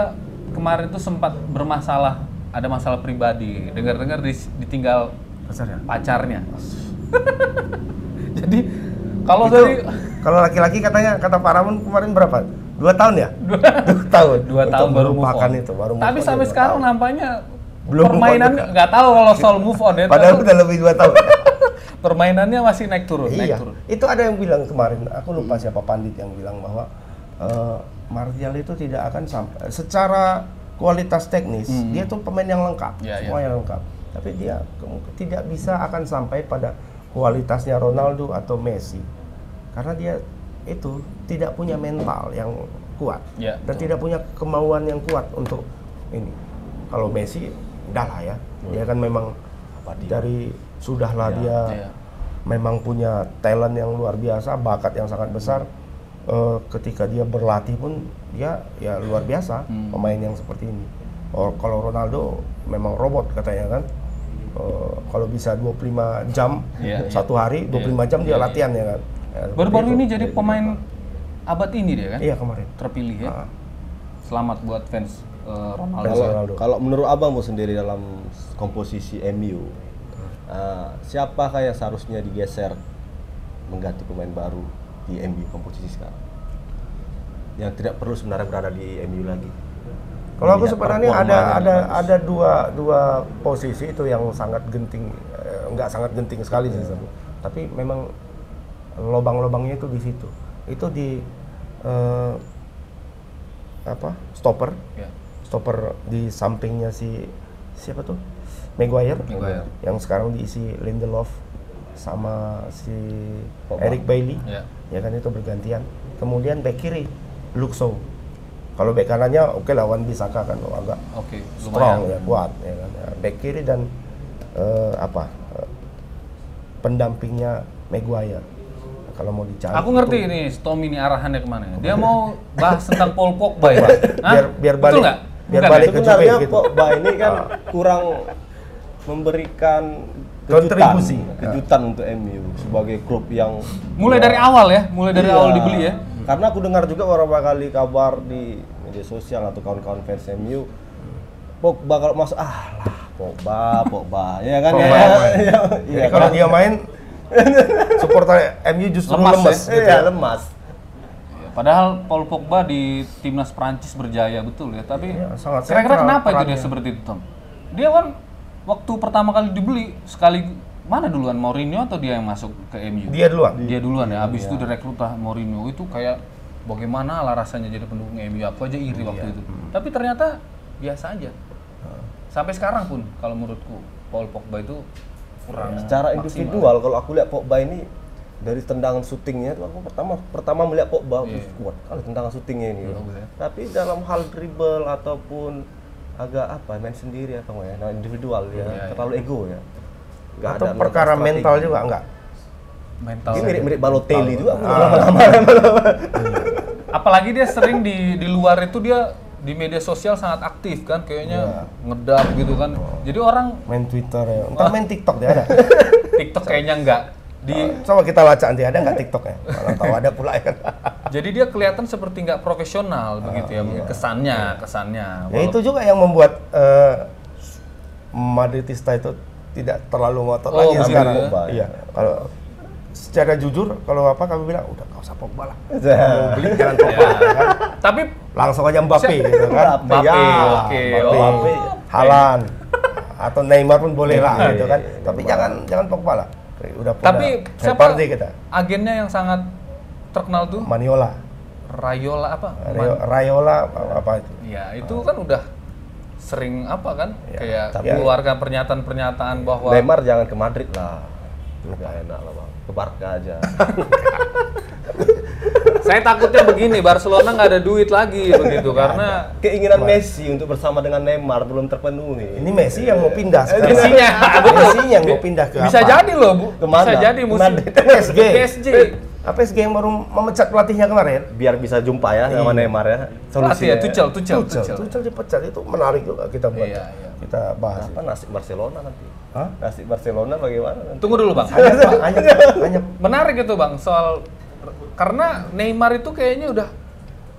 Speaker 2: kemarin tuh sempat bermasalah, ada masalah pribadi. Dengar-dengar dis- ditinggal
Speaker 1: Besar ya.
Speaker 2: pacarnya. [laughs] Jadi kalau
Speaker 1: Itu,
Speaker 2: dari
Speaker 1: kalau laki-laki katanya kata Pak Ramon kemarin berapa? Dua tahun ya? Dua tahun.
Speaker 2: dua
Speaker 1: Untuk
Speaker 2: tahun baru move
Speaker 1: melupakan
Speaker 2: on.
Speaker 1: itu, baru move
Speaker 2: Tapi
Speaker 1: on
Speaker 2: sampai
Speaker 1: ya dua
Speaker 2: sekarang
Speaker 1: tahun.
Speaker 2: nampaknya
Speaker 1: Belum move on
Speaker 2: permainannya
Speaker 1: juga.
Speaker 2: nggak tahu kalau soal move on ya.
Speaker 1: Padahal
Speaker 2: tapi
Speaker 1: udah lebih dua tahun.
Speaker 2: permainannya masih naik turun, naik
Speaker 1: iya.
Speaker 2: turun.
Speaker 1: Itu ada yang bilang kemarin, aku lupa siapa pandit yang bilang bahwa eh, Martial itu tidak akan sampai secara kualitas teknis dia tuh pemain yang lengkap,
Speaker 2: Hmm. Iya,
Speaker 1: semua yang lengkap. Tapi dia ke- tidak bisa akan sampai pada kualitasnya Ronaldo atau Messi. Karena dia itu tidak punya mental yang kuat.
Speaker 2: Iya,
Speaker 1: dan tidak punya kemauan yang kuat untuk ini. Kalau Messi, udahlah ya. Dia kan memang dari sudahlah dia
Speaker 2: iya.
Speaker 1: memang punya talent yang luar biasa, bakat yang sangat besar. Eh, ketika dia berlatih pun dia ya luar biasa
Speaker 2: Hmm.
Speaker 1: pemain yang seperti ini. Oh, kalau Ronaldo memang robot katanya kan. Eh, kalau bisa 25 jam
Speaker 2: Iya, iya.
Speaker 1: satu hari 25 jam dia latihan ya kan. Ya, seperti
Speaker 2: Baru-baru
Speaker 1: itu. gitu,
Speaker 2: ini jadi pemain abad ini dia kan?
Speaker 1: Iya kemarin.
Speaker 2: Terpilih ya.
Speaker 1: Ah.
Speaker 2: Selamat buat fans eh, Ronaldo.
Speaker 3: Kalau
Speaker 1: Ronaldo.
Speaker 3: kalau menurut abang mau sendiri dalam komposisi MU, eh, siapa kayak seharusnya digeser mengganti pemain baru di MU komposisi sekarang? Yang tidak perlu sebenarnya berada di MU lagi.
Speaker 1: Kalau aku
Speaker 3: Melihat
Speaker 1: sebenarnya ada
Speaker 3: performanya
Speaker 1: ada
Speaker 3: yang bagus.
Speaker 1: ada dua dua posisi itu yang sangat genting, eh, nggak sangat genting sekali sih sebenarnya. Tapi memang lobang-lobangnya itu di situ. Itu di eh, apa? Stopper,
Speaker 2: Ya.
Speaker 1: stopper di sampingnya si siapa tuh? Maguire.
Speaker 2: Maguire.
Speaker 1: Yang sekarang diisi Lindelof sama si
Speaker 3: Pogba.
Speaker 1: Eric Bailey
Speaker 2: Ya.
Speaker 1: ya kan itu bergantian. Kemudian back kiri Luxo. Kalau back kanannya oke lawan Bisaka kan oh, agak
Speaker 2: Oke,
Speaker 1: strong
Speaker 2: lumayan.
Speaker 1: ya kuat ya kan. Ya, Back kiri dan eh, apa eh, pendampingnya Maguire. Nah, kalau mau dicari.
Speaker 2: Aku ngerti
Speaker 1: itu.
Speaker 2: ini Tommy ini arahannya kemana ya. Dia mau bahas tentang Paul Pogba ya. Hah?
Speaker 1: Biar- biar
Speaker 2: Betul
Speaker 1: balik-
Speaker 2: nggak?
Speaker 1: biar
Speaker 2: Bukan
Speaker 1: balik
Speaker 2: ya?
Speaker 1: ke
Speaker 3: Sebenarnya
Speaker 1: Juve gitu.
Speaker 3: Pogba ini [laughs] kan
Speaker 1: Ah.
Speaker 3: kurang memberikan
Speaker 1: Kontribusi.
Speaker 3: kejutan, kejutan untuk MU sebagai klub yang
Speaker 2: Mulai dari awal ya, mulai dari
Speaker 3: Iya.
Speaker 2: awal dibeli ya.
Speaker 3: Karena aku dengar juga beberapa kali kabar di media sosial atau kawan-kawan fans MU Pogba kalau masuk ah lah Pogba, Pogba ya kan
Speaker 1: Pogba,
Speaker 3: ya.
Speaker 1: Pogba.
Speaker 3: Iya,
Speaker 1: Jadi kalau dia main supporter MU justru
Speaker 2: Lemas
Speaker 1: lemas,
Speaker 2: ya?
Speaker 1: gitu
Speaker 3: Iya,
Speaker 1: ya.
Speaker 3: lemas.
Speaker 2: Ya, Padahal Paul Pogba di timnas Prancis berjaya betul ya, tapi
Speaker 1: Iya, sangat
Speaker 2: kira-kira
Speaker 1: sentral
Speaker 2: kenapa itu dia
Speaker 1: perannya.
Speaker 2: seperti itu, Tom? Dia kan waktu pertama kali dibeli sekali mana duluan Mourinho atau dia yang masuk ke MU?
Speaker 1: Dia Iya. duluan.
Speaker 2: dia duluan ya habis itu direkrut lah Mourinho itu kayak bagaimana lah rasanya jadi pendukung MU aku aja iri waktu
Speaker 1: Iya.
Speaker 2: itu
Speaker 1: Hmm.
Speaker 2: tapi ternyata biasa aja sampai sekarang pun kalau menurutku Paul Pogba itu kurang
Speaker 3: secara
Speaker 2: maksimal.
Speaker 3: individual kalau aku lihat Pogba ini dari tendangan syutingnya tuh aku pertama pertama melihat Pogba
Speaker 2: Iya.
Speaker 3: "Wih, kuat kali tendangan syutingnya ini
Speaker 2: Bagus ya.
Speaker 3: tapi dalam hal dribble ataupun agak apa main sendiri apa nggak ya nah, individual ya
Speaker 2: Iya,
Speaker 3: terlalu ego ya Nggak
Speaker 1: Atau
Speaker 3: ada
Speaker 1: perkara
Speaker 3: strategi.
Speaker 1: mental juga enggak?
Speaker 2: mental
Speaker 3: dia mirip mirip Balotelli juga
Speaker 1: Ah.
Speaker 3: aku
Speaker 2: apalagi dia sering di di luar itu dia di media sosial sangat aktif kan
Speaker 1: Iya.
Speaker 2: kayaknya ngedap gitu kan jadi orang
Speaker 1: Main Twitter ya. Entar main TikTok dia ada.
Speaker 2: TikTok kayaknya enggak di
Speaker 1: Coba kita baca nanti ada nggak TikToknya? Kalau tahu ada pula ya.
Speaker 2: jadi dia kelihatan seperti nggak profesional begitu ya kesannya kesannya
Speaker 1: Ah, iya. Ya itu juga yang membuat eh, Madridista itu tidak terlalu ngotot
Speaker 2: Oh,
Speaker 1: lagi
Speaker 2: begitu
Speaker 1: sekarang.
Speaker 2: ya?
Speaker 1: Iya. Kalau secara jujur kalau apa kami bilang udah nggak usah Pogba lah.
Speaker 3: Nah,
Speaker 1: Mau beli jangan Pogba kan.
Speaker 2: Iya. tapi
Speaker 1: Langsung aja Mbappe gitu kan.
Speaker 3: [laughs] Mbappe, ya,
Speaker 2: Mbappe, oke.
Speaker 1: Mbappe,
Speaker 2: Oh.
Speaker 1: Mbappe, Halan atau Neymar pun boleh lah gitu kan. Tapi jangan jangan Pogba lah. Udah punya
Speaker 2: iya, Tapi siapa-
Speaker 1: Party kita.
Speaker 2: agennya yang sangat terkenal tuh
Speaker 1: Maniola,
Speaker 2: Rayola apa?
Speaker 1: Rayo- Rayola apa- apa itu.
Speaker 2: Ya itu kan udah sering apa kan kayak
Speaker 1: Iya, tapi-
Speaker 2: mengeluarkan pernyataan-pernyataan bahwa
Speaker 3: Neymar jangan ke Madrid lah nggak enak lah bang ke Barca aja [laughs]
Speaker 2: saya takutnya begini Barcelona nggak ada duit lagi begitu karena
Speaker 3: keinginan Messi untuk bersama dengan Neymar belum terpenuhi
Speaker 1: Ini Messi yang mau pindah sekarang.
Speaker 2: Messinya betul
Speaker 1: Messi yang mau pindah ke
Speaker 2: bisa
Speaker 1: apa?
Speaker 2: jadi loh bu
Speaker 3: Kemana?
Speaker 2: bisa jadi musim
Speaker 3: Kemana?
Speaker 1: PSG.
Speaker 2: PSG
Speaker 1: Apa PSG yang baru memecat pelatihnya kemarin?
Speaker 3: biar bisa jumpa ya
Speaker 1: Iya.
Speaker 3: sama Neymar ya
Speaker 2: Pelatih ya
Speaker 3: solusinya
Speaker 2: Tuchel Tuchel
Speaker 1: Tuchel,
Speaker 2: Tuchel
Speaker 1: Tuchel dipecat itu menarik juga kita buat.
Speaker 2: Iya, iya.
Speaker 1: Kita bahas.
Speaker 3: apa nasib Barcelona nanti
Speaker 1: Hah?
Speaker 3: nasib Barcelona bagaimana nanti
Speaker 2: tunggu dulu bang
Speaker 1: Hanya, hanya, hanya
Speaker 2: menarik itu bang soal karena Neymar itu kayaknya udah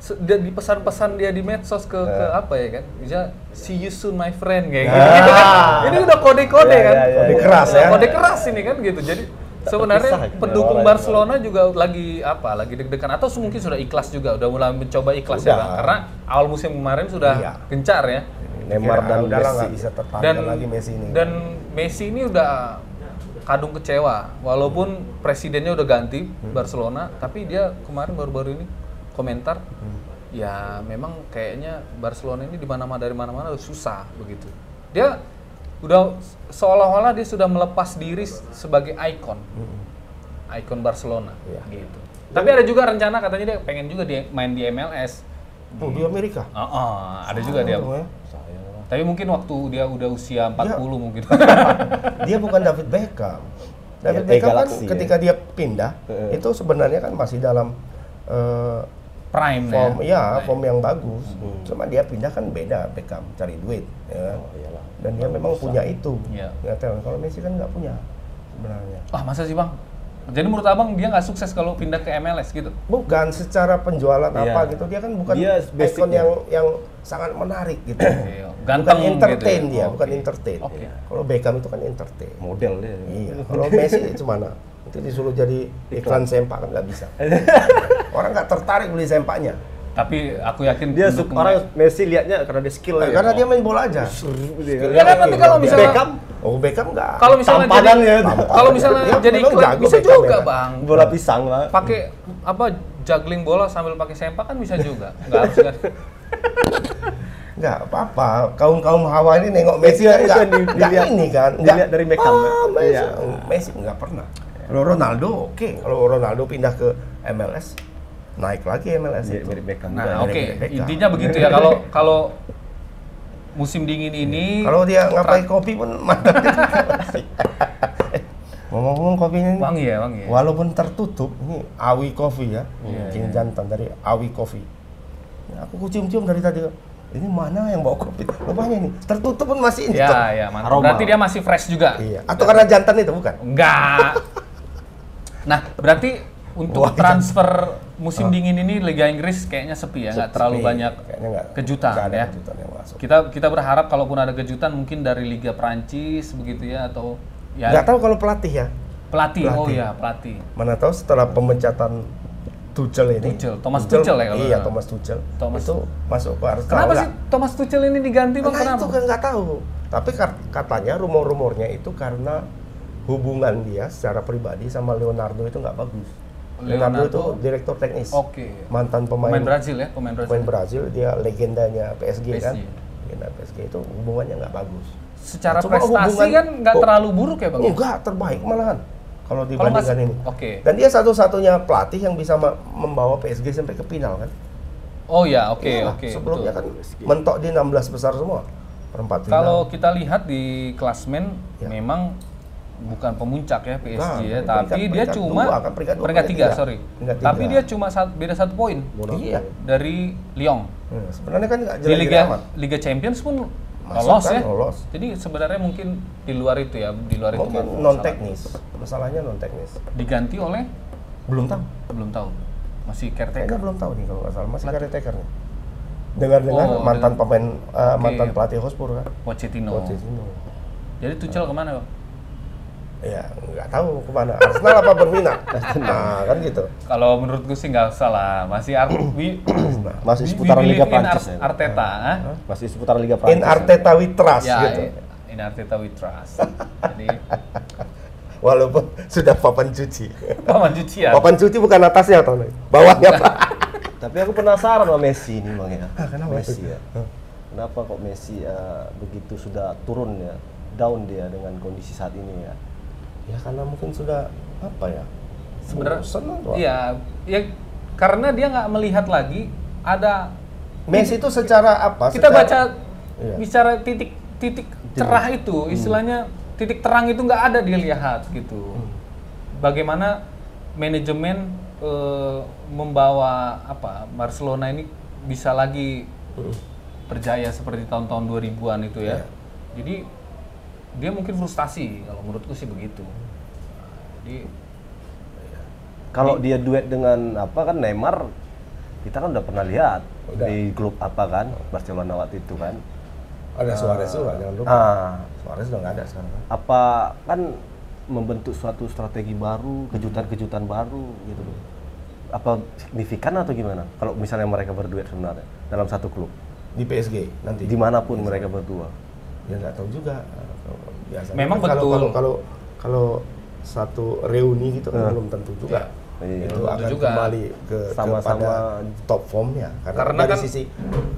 Speaker 2: se- dia- di pesan-pesan dia di medsos ke, ke
Speaker 3: Nah.
Speaker 2: apa ya kan bisa see you soon my friend kayak gitu, gitu kan.
Speaker 1: Ah.
Speaker 2: ini udah kode-kode
Speaker 3: Ya,
Speaker 2: kan
Speaker 3: ya, ya,
Speaker 1: Kode ya. keras ya.
Speaker 2: kode keras ini kan gitu jadi sebenarnya
Speaker 3: terpisah gitu
Speaker 2: pendukung
Speaker 3: orang-orang.
Speaker 2: Barcelona juga lagi apa lagi deg-degan atau mungkin sudah ikhlas juga udah mulai mencoba ikhlas ya
Speaker 3: Udah.
Speaker 2: bang karena awal musim kemarin sudah
Speaker 1: Iya.
Speaker 2: gencar ya
Speaker 3: Neymar
Speaker 1: Ya,
Speaker 3: dan
Speaker 1: udah lah nggak
Speaker 3: Messi
Speaker 1: bisa tertahan
Speaker 2: dan
Speaker 1: lagi Messi ini.
Speaker 2: Dan Messi ini udah kadung kecewa walaupun presidennya udah ganti
Speaker 1: Hmm.
Speaker 2: Barcelona tapi dia kemarin baru-baru ini komentar
Speaker 1: Hmm.
Speaker 2: ya memang kayaknya Barcelona ini di mana-mana dari mana-mana udah susah begitu. Dia udah seolah-olah dia sudah melepas diri s- sebagai ikon.
Speaker 1: Hmm.
Speaker 2: Ikon Barcelona
Speaker 1: Iya.
Speaker 2: gitu. Tapi ada juga rencana katanya dia pengen juga dia main di MLS.
Speaker 1: oh, di Amerika.
Speaker 2: Ah, ah, ada juga dia.
Speaker 1: Untung ya. Iya.
Speaker 2: Tapi mungkin waktu dia udah usia 40 mungkin.
Speaker 1: [laughs] Dia bukan David Beckham. David
Speaker 3: Ya,
Speaker 1: Beckham kan
Speaker 3: Galaxy ya.
Speaker 1: ketika dia pindah itu sebenarnya kan masih dalam eh,
Speaker 2: Prime ya.
Speaker 1: form ya, form yang bagus. Cuma dia pindah kan beda Beckham cari duit ya.
Speaker 3: Oh, iyalah.
Speaker 1: Dan dia memang punya itu.
Speaker 2: Iya.
Speaker 1: Ya, talent. kalau Messi kan nggak punya sebenarnya.
Speaker 2: Wah, masa sih, Bang? Jadi menurut Abang dia nggak sukses kalau pindah ke MLS gitu.
Speaker 1: Bukan secara penjualan
Speaker 3: Iya.
Speaker 1: apa gitu, dia kan bukan
Speaker 3: Dia
Speaker 1: ikon
Speaker 3: basicnya.
Speaker 1: yang yang sangat menarik gitu.
Speaker 2: Iya,
Speaker 1: bukan
Speaker 2: Ganteng
Speaker 1: entertain
Speaker 2: gitu
Speaker 1: dia,
Speaker 2: ya.
Speaker 1: bukan
Speaker 2: Oke.
Speaker 1: entertain.
Speaker 2: Oke.
Speaker 1: Kalau Beckham itu kan
Speaker 3: [laughs]
Speaker 1: entertain.
Speaker 3: model dia
Speaker 1: Iya. Kalau Messi itu mana? Nanti disuruh jadi iklan sempak kan nggak bisa. Orang nggak tertarik beli sempaknya.
Speaker 2: Tapi aku yakin
Speaker 3: dia
Speaker 2: pendukung-
Speaker 3: suka orang Messi lihatnya karena dia skill
Speaker 1: Nah,
Speaker 3: aja.
Speaker 1: karena dia main bola aja.
Speaker 2: Ya kan nanti kalau
Speaker 1: Iya.
Speaker 2: misalnya
Speaker 3: Iya. Beckham
Speaker 1: Oh Beckham nggak.
Speaker 2: kalau misalnya jadi
Speaker 3: Tampanan ya.
Speaker 2: kalau misalnya
Speaker 1: Dia
Speaker 2: jadi
Speaker 1: memang
Speaker 2: iklan,
Speaker 1: Iya, jago
Speaker 2: bisa
Speaker 1: Beckham
Speaker 2: juga,
Speaker 1: ya kan?
Speaker 2: Bang.
Speaker 3: bola pisang lah
Speaker 2: Pakai apa juggling bola sambil pakai sempak kan bisa
Speaker 1: [laughs]
Speaker 2: juga. Nggak harus kan.
Speaker 1: nggak apa-apa. Kaum kaum hawa ini nengok Messi kan nggak
Speaker 3: Iya, iya, di-
Speaker 1: nggak
Speaker 3: dilihat-
Speaker 1: ini kan.
Speaker 3: dilihat dari Beckham, ya.
Speaker 1: Ah, Messi.
Speaker 3: Iya.
Speaker 1: Oh, Messi nggak pernah. Kalau Ronaldo oke. Kalau Ronaldo pindah ke MLS naik lagi MLS
Speaker 3: Dia
Speaker 1: itu.
Speaker 3: mirip Beckham
Speaker 2: Nah,
Speaker 1: Iya,
Speaker 2: oke.
Speaker 1: iya, iya.
Speaker 2: Intinya begitu ya kalau
Speaker 1: [laughs]
Speaker 2: kalau musim
Speaker 1: Iya.
Speaker 2: dingin ini [laughs]
Speaker 1: Kalau dia ngapain kopi pun mantap. Ngomong-ngomong Walaupun kopinya ini,
Speaker 2: Wangi ya, wangi. Ya?
Speaker 1: walaupun tertutup, ini Awi Coffee ya,
Speaker 2: Iya,
Speaker 1: King
Speaker 2: iya.
Speaker 1: Jantan dari Awi Coffee. Ya, aku cium-cium dari tadi, ini mana yang bawa kopi? Rupanya ini tertutup pun masih ini.
Speaker 2: Ya,
Speaker 1: Tom.
Speaker 2: ya, mantap.
Speaker 3: Aroma.
Speaker 2: Berarti dia masih fresh juga.
Speaker 1: Iya. Atau karena jantan itu bukan?
Speaker 2: Enggak. Nah, berarti untuk
Speaker 1: Wah, Oh.
Speaker 2: transfer musim dingin ini Liga Inggris kayaknya sepi ya, nggak
Speaker 1: Sepi.
Speaker 2: terlalu banyak
Speaker 1: Iya, Kayaknya nggak-
Speaker 2: kejutan
Speaker 1: nggak ada
Speaker 2: ya.
Speaker 1: kejutan yang masuk.
Speaker 2: Kita kita berharap kalaupun ada kejutan mungkin dari Liga Prancis begitu ya atau ya
Speaker 1: Nggak tahu kalau pelatih ya.
Speaker 2: pelatih. Oh
Speaker 1: pelatih.
Speaker 2: ya, pelatih.
Speaker 1: Mana tahu setelah pemecatan Tuchel ini.
Speaker 2: Tuchel, Thomas Tuchel ya
Speaker 1: Iya,
Speaker 2: kalau nggak salah.
Speaker 1: Thomas Tuchel.
Speaker 2: Thomas
Speaker 1: itu masuk ke Arsenal.
Speaker 2: Kenapa
Speaker 1: nggak?
Speaker 2: sih Thomas Tuchel ini diganti Bang?
Speaker 1: Nah, itu
Speaker 2: Kenapa?
Speaker 1: kan nggak tahu. Tapi kar- katanya rumor-rumornya itu karena hubungan dia secara pribadi sama Leonardo itu nggak bagus. Leonardo, itu
Speaker 2: Leonardo.
Speaker 1: direktur teknis.
Speaker 2: Oke.
Speaker 1: Mantan pemain,
Speaker 2: Pemain Brazil ya, pemain Brazil.
Speaker 1: pemain Brazil, dia legendanya PSG, kan.
Speaker 2: PSG.
Speaker 1: Legenda PSG itu hubungannya nggak bagus.
Speaker 2: Secara
Speaker 1: Cuma
Speaker 2: prestasi
Speaker 1: hubungan-
Speaker 2: kan nggak
Speaker 1: Oh.
Speaker 2: terlalu buruk ya, Bang? ya?
Speaker 1: Enggak, terbaik malahan kalau
Speaker 2: Kalau nggak-
Speaker 1: dibandingkan ini.
Speaker 2: Oke.
Speaker 1: Dan dia satu-satunya pelatih yang bisa ma- membawa PSG sampai ke final kan.
Speaker 2: Oh ya, oke,
Speaker 1: Iyalah,
Speaker 2: oke.
Speaker 1: Iya, Sebelumnya
Speaker 2: betul.
Speaker 1: kan mentok di 16 besar semua. Perempat final.
Speaker 2: Kalau kita lihat di klasmen
Speaker 1: Ya.
Speaker 2: memang bukan pemuncak ya PSG
Speaker 1: Bukan,
Speaker 2: ya,
Speaker 1: peringkat-
Speaker 2: tapi dia
Speaker 1: peringkat
Speaker 2: cuma
Speaker 1: dua, kan peringkat dua,
Speaker 2: peringkat tiga
Speaker 1: peringkat tiga.
Speaker 2: sorry.
Speaker 1: Peringkat tiga.
Speaker 2: Tapi dia cuma sat- beda satu poin
Speaker 1: Iya.
Speaker 2: dari Lyon.
Speaker 1: Hmm, sebenarnya kan nggak
Speaker 2: Di
Speaker 1: jelek
Speaker 2: Liga
Speaker 1: amat.
Speaker 2: Liga Champions pun
Speaker 1: Masuk
Speaker 2: lolos
Speaker 1: kan,
Speaker 2: ya.
Speaker 1: lolos.
Speaker 2: Jadi sebenarnya mungkin di luar itu ya, di luar itu
Speaker 1: Mungkin
Speaker 2: baru
Speaker 1: non
Speaker 2: masalah.
Speaker 1: teknis. Masalahnya non teknis.
Speaker 2: Diganti oleh
Speaker 1: Belum tahu.
Speaker 2: belum tahu. Masih
Speaker 1: Kayaknya
Speaker 2: caretaker.
Speaker 1: belum tahu nih kalau nggak salah masih caretaker nih. Dengar-dengar
Speaker 2: Oh,
Speaker 1: mantan
Speaker 2: dengan-
Speaker 1: pemain eh,
Speaker 2: Oke. Oh.
Speaker 1: mantan pelatih Hotspur kan.
Speaker 2: Pochettino.
Speaker 1: Pochettino.
Speaker 2: Jadi Tuchel kemana bang?
Speaker 1: Ya, nggak tahu kemana. Arsenal apa
Speaker 2: [laughs]
Speaker 1: berminat? nah, kan gitu.
Speaker 2: Kalau menurut gue sih nggak salah. Masih
Speaker 1: [coughs]
Speaker 2: Ar we-
Speaker 3: Masih
Speaker 2: we- we
Speaker 3: seputaran Liga
Speaker 2: believe in
Speaker 3: Prancis
Speaker 2: Ar-
Speaker 3: ya.
Speaker 2: Arteta.
Speaker 1: Iya.
Speaker 2: ah.
Speaker 3: Masih seputaran Liga Prancis.
Speaker 1: In Arteta we trust
Speaker 2: ya,
Speaker 1: gitu.
Speaker 2: in Arteta we trust. Jadi,
Speaker 1: Walaupun [laughs] sudah papan cuci.
Speaker 2: paman cuci ya.
Speaker 1: Papan cuci bukan atasnya atau bawahnya Pak.
Speaker 3: ya? Tapi aku penasaran sama Messi ini bang ya.
Speaker 1: Ah, kenapa?
Speaker 3: Messi ya. Kenapa kok Messi eh, begitu sudah turun ya, down dia dengan kondisi saat ini ya?
Speaker 1: Ya karena mungkin sudah apa ya?
Speaker 2: Sebenarnya,
Speaker 1: bosan lah, Pak.
Speaker 2: iya, ya karena dia nggak melihat lagi ada.
Speaker 1: Messi itu secara apa?
Speaker 2: Kita
Speaker 1: Secara-
Speaker 2: baca
Speaker 1: Iya. Hmm.
Speaker 2: bicara titik titik cerah itu, istilahnya titik terang itu nggak ada dilihat gitu.
Speaker 1: Hmm.
Speaker 2: Bagaimana manajemen eh, membawa apa Barcelona ini bisa lagi
Speaker 1: Hmm.
Speaker 2: berjaya seperti tahun-tahun 2000-an itu ya.
Speaker 1: Iya.
Speaker 2: Jadi dia mungkin frustasi kalau menurutku sih begitu. Jadi
Speaker 3: Kalau dia duet dengan apa kan Neymar, kita kan udah pernah lihat
Speaker 1: Udah.
Speaker 3: di klub apa kan Barcelona waktu itu kan.
Speaker 1: ada Suarez juga jangan lupa.
Speaker 3: Ah,
Speaker 1: Suarez udah nggak ada sekarang. kan?
Speaker 3: apa kan membentuk suatu strategi baru, kejutan-kejutan baru gitu loh. Apa signifikan atau gimana? Kalau misalnya mereka berduet sebenarnya dalam satu klub,
Speaker 1: Di PSG nanti.
Speaker 3: dimanapun mereka berdua.
Speaker 1: Ya nggak tahu juga. Biasanya
Speaker 2: Memang
Speaker 1: kan kalau-
Speaker 2: betul.
Speaker 1: Kalau kalau kalau satu reuni gitu kan belum tentu juga.
Speaker 3: Nah. Iya.
Speaker 1: itu
Speaker 2: Belum tentu
Speaker 1: akan
Speaker 2: juga.
Speaker 1: kembali ke
Speaker 3: Sama-sama-
Speaker 1: kepada top formnya karena,
Speaker 2: Karena
Speaker 1: dari
Speaker 2: kan-
Speaker 1: sisi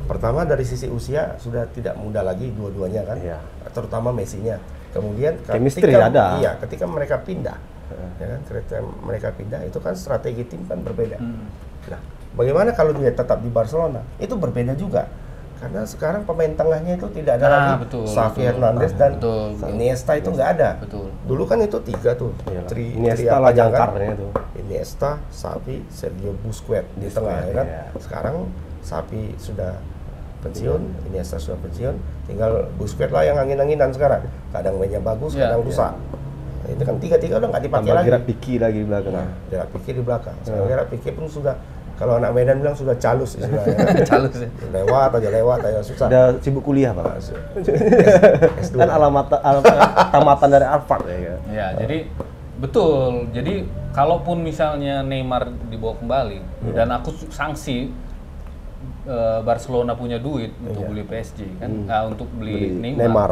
Speaker 1: pertama dari sisi usia sudah tidak muda lagi dua-duanya kan
Speaker 3: Iya.
Speaker 1: terutama Messi-nya kemudian
Speaker 3: Chemistry ada.
Speaker 1: iya ketika mereka pindah
Speaker 2: Hmm.
Speaker 1: ya kan ketika mereka pindah itu kan strategi tim kan berbeda
Speaker 2: Hmm.
Speaker 1: nah bagaimana kalau dia tetap di Barcelona itu berbeda juga karena sekarang pemain tengahnya itu tidak ada
Speaker 2: Nah,
Speaker 1: lagi
Speaker 2: betul,
Speaker 1: Xavi
Speaker 2: betul. Ah,
Speaker 1: Hernandez dan
Speaker 2: Betul, betul.
Speaker 1: Iniesta itu nggak ada
Speaker 2: Betul. [laughs]
Speaker 1: dulu kan itu tiga tuh
Speaker 3: Iyalah.
Speaker 1: tri, tri
Speaker 3: Iniesta
Speaker 1: apa
Speaker 3: lah
Speaker 1: jangan-
Speaker 3: Iya. jangkarnya tuh.
Speaker 1: Iniesta, Sapi, Sergio Busquets di
Speaker 3: Busquets,
Speaker 1: tengah ya kan.
Speaker 3: iya.
Speaker 1: Sekarang Sapi sudah
Speaker 3: Iya.
Speaker 1: pensiun, Iniesta sudah pensiun, tinggal Busquets lah yang angin-anginan sekarang. Kadang mainnya bagus,
Speaker 2: Iya,
Speaker 1: kadang
Speaker 2: iya.
Speaker 1: rusak. Nah, itu kan tiga-tiga udah nggak dipakai
Speaker 3: Tambah
Speaker 1: lagi.
Speaker 3: gerak piki lagi di Iya. belakang.
Speaker 1: Nah, gerak pikir di belakang. Sekarang gerak pikir pun sudah kalau anak Medan bilang sudah calus istilahnya. kan.
Speaker 2: Calus ya.
Speaker 1: lewat aja lewat aja susah. Nah,
Speaker 3: Udah sibuk kuliah, Pak.
Speaker 1: Masuk. S2.
Speaker 3: Kan alamat alamat- [laughs] tamatan dari Harvard ya. kan?
Speaker 2: ya jadi betul. Jadi kalaupun misalnya Neymar dibawa kembali dan aku su- sanksi eh, Barcelona punya duit untuk beli PSG kan, ah, untuk beli,
Speaker 3: Beli
Speaker 2: Neymar.
Speaker 3: Neymar.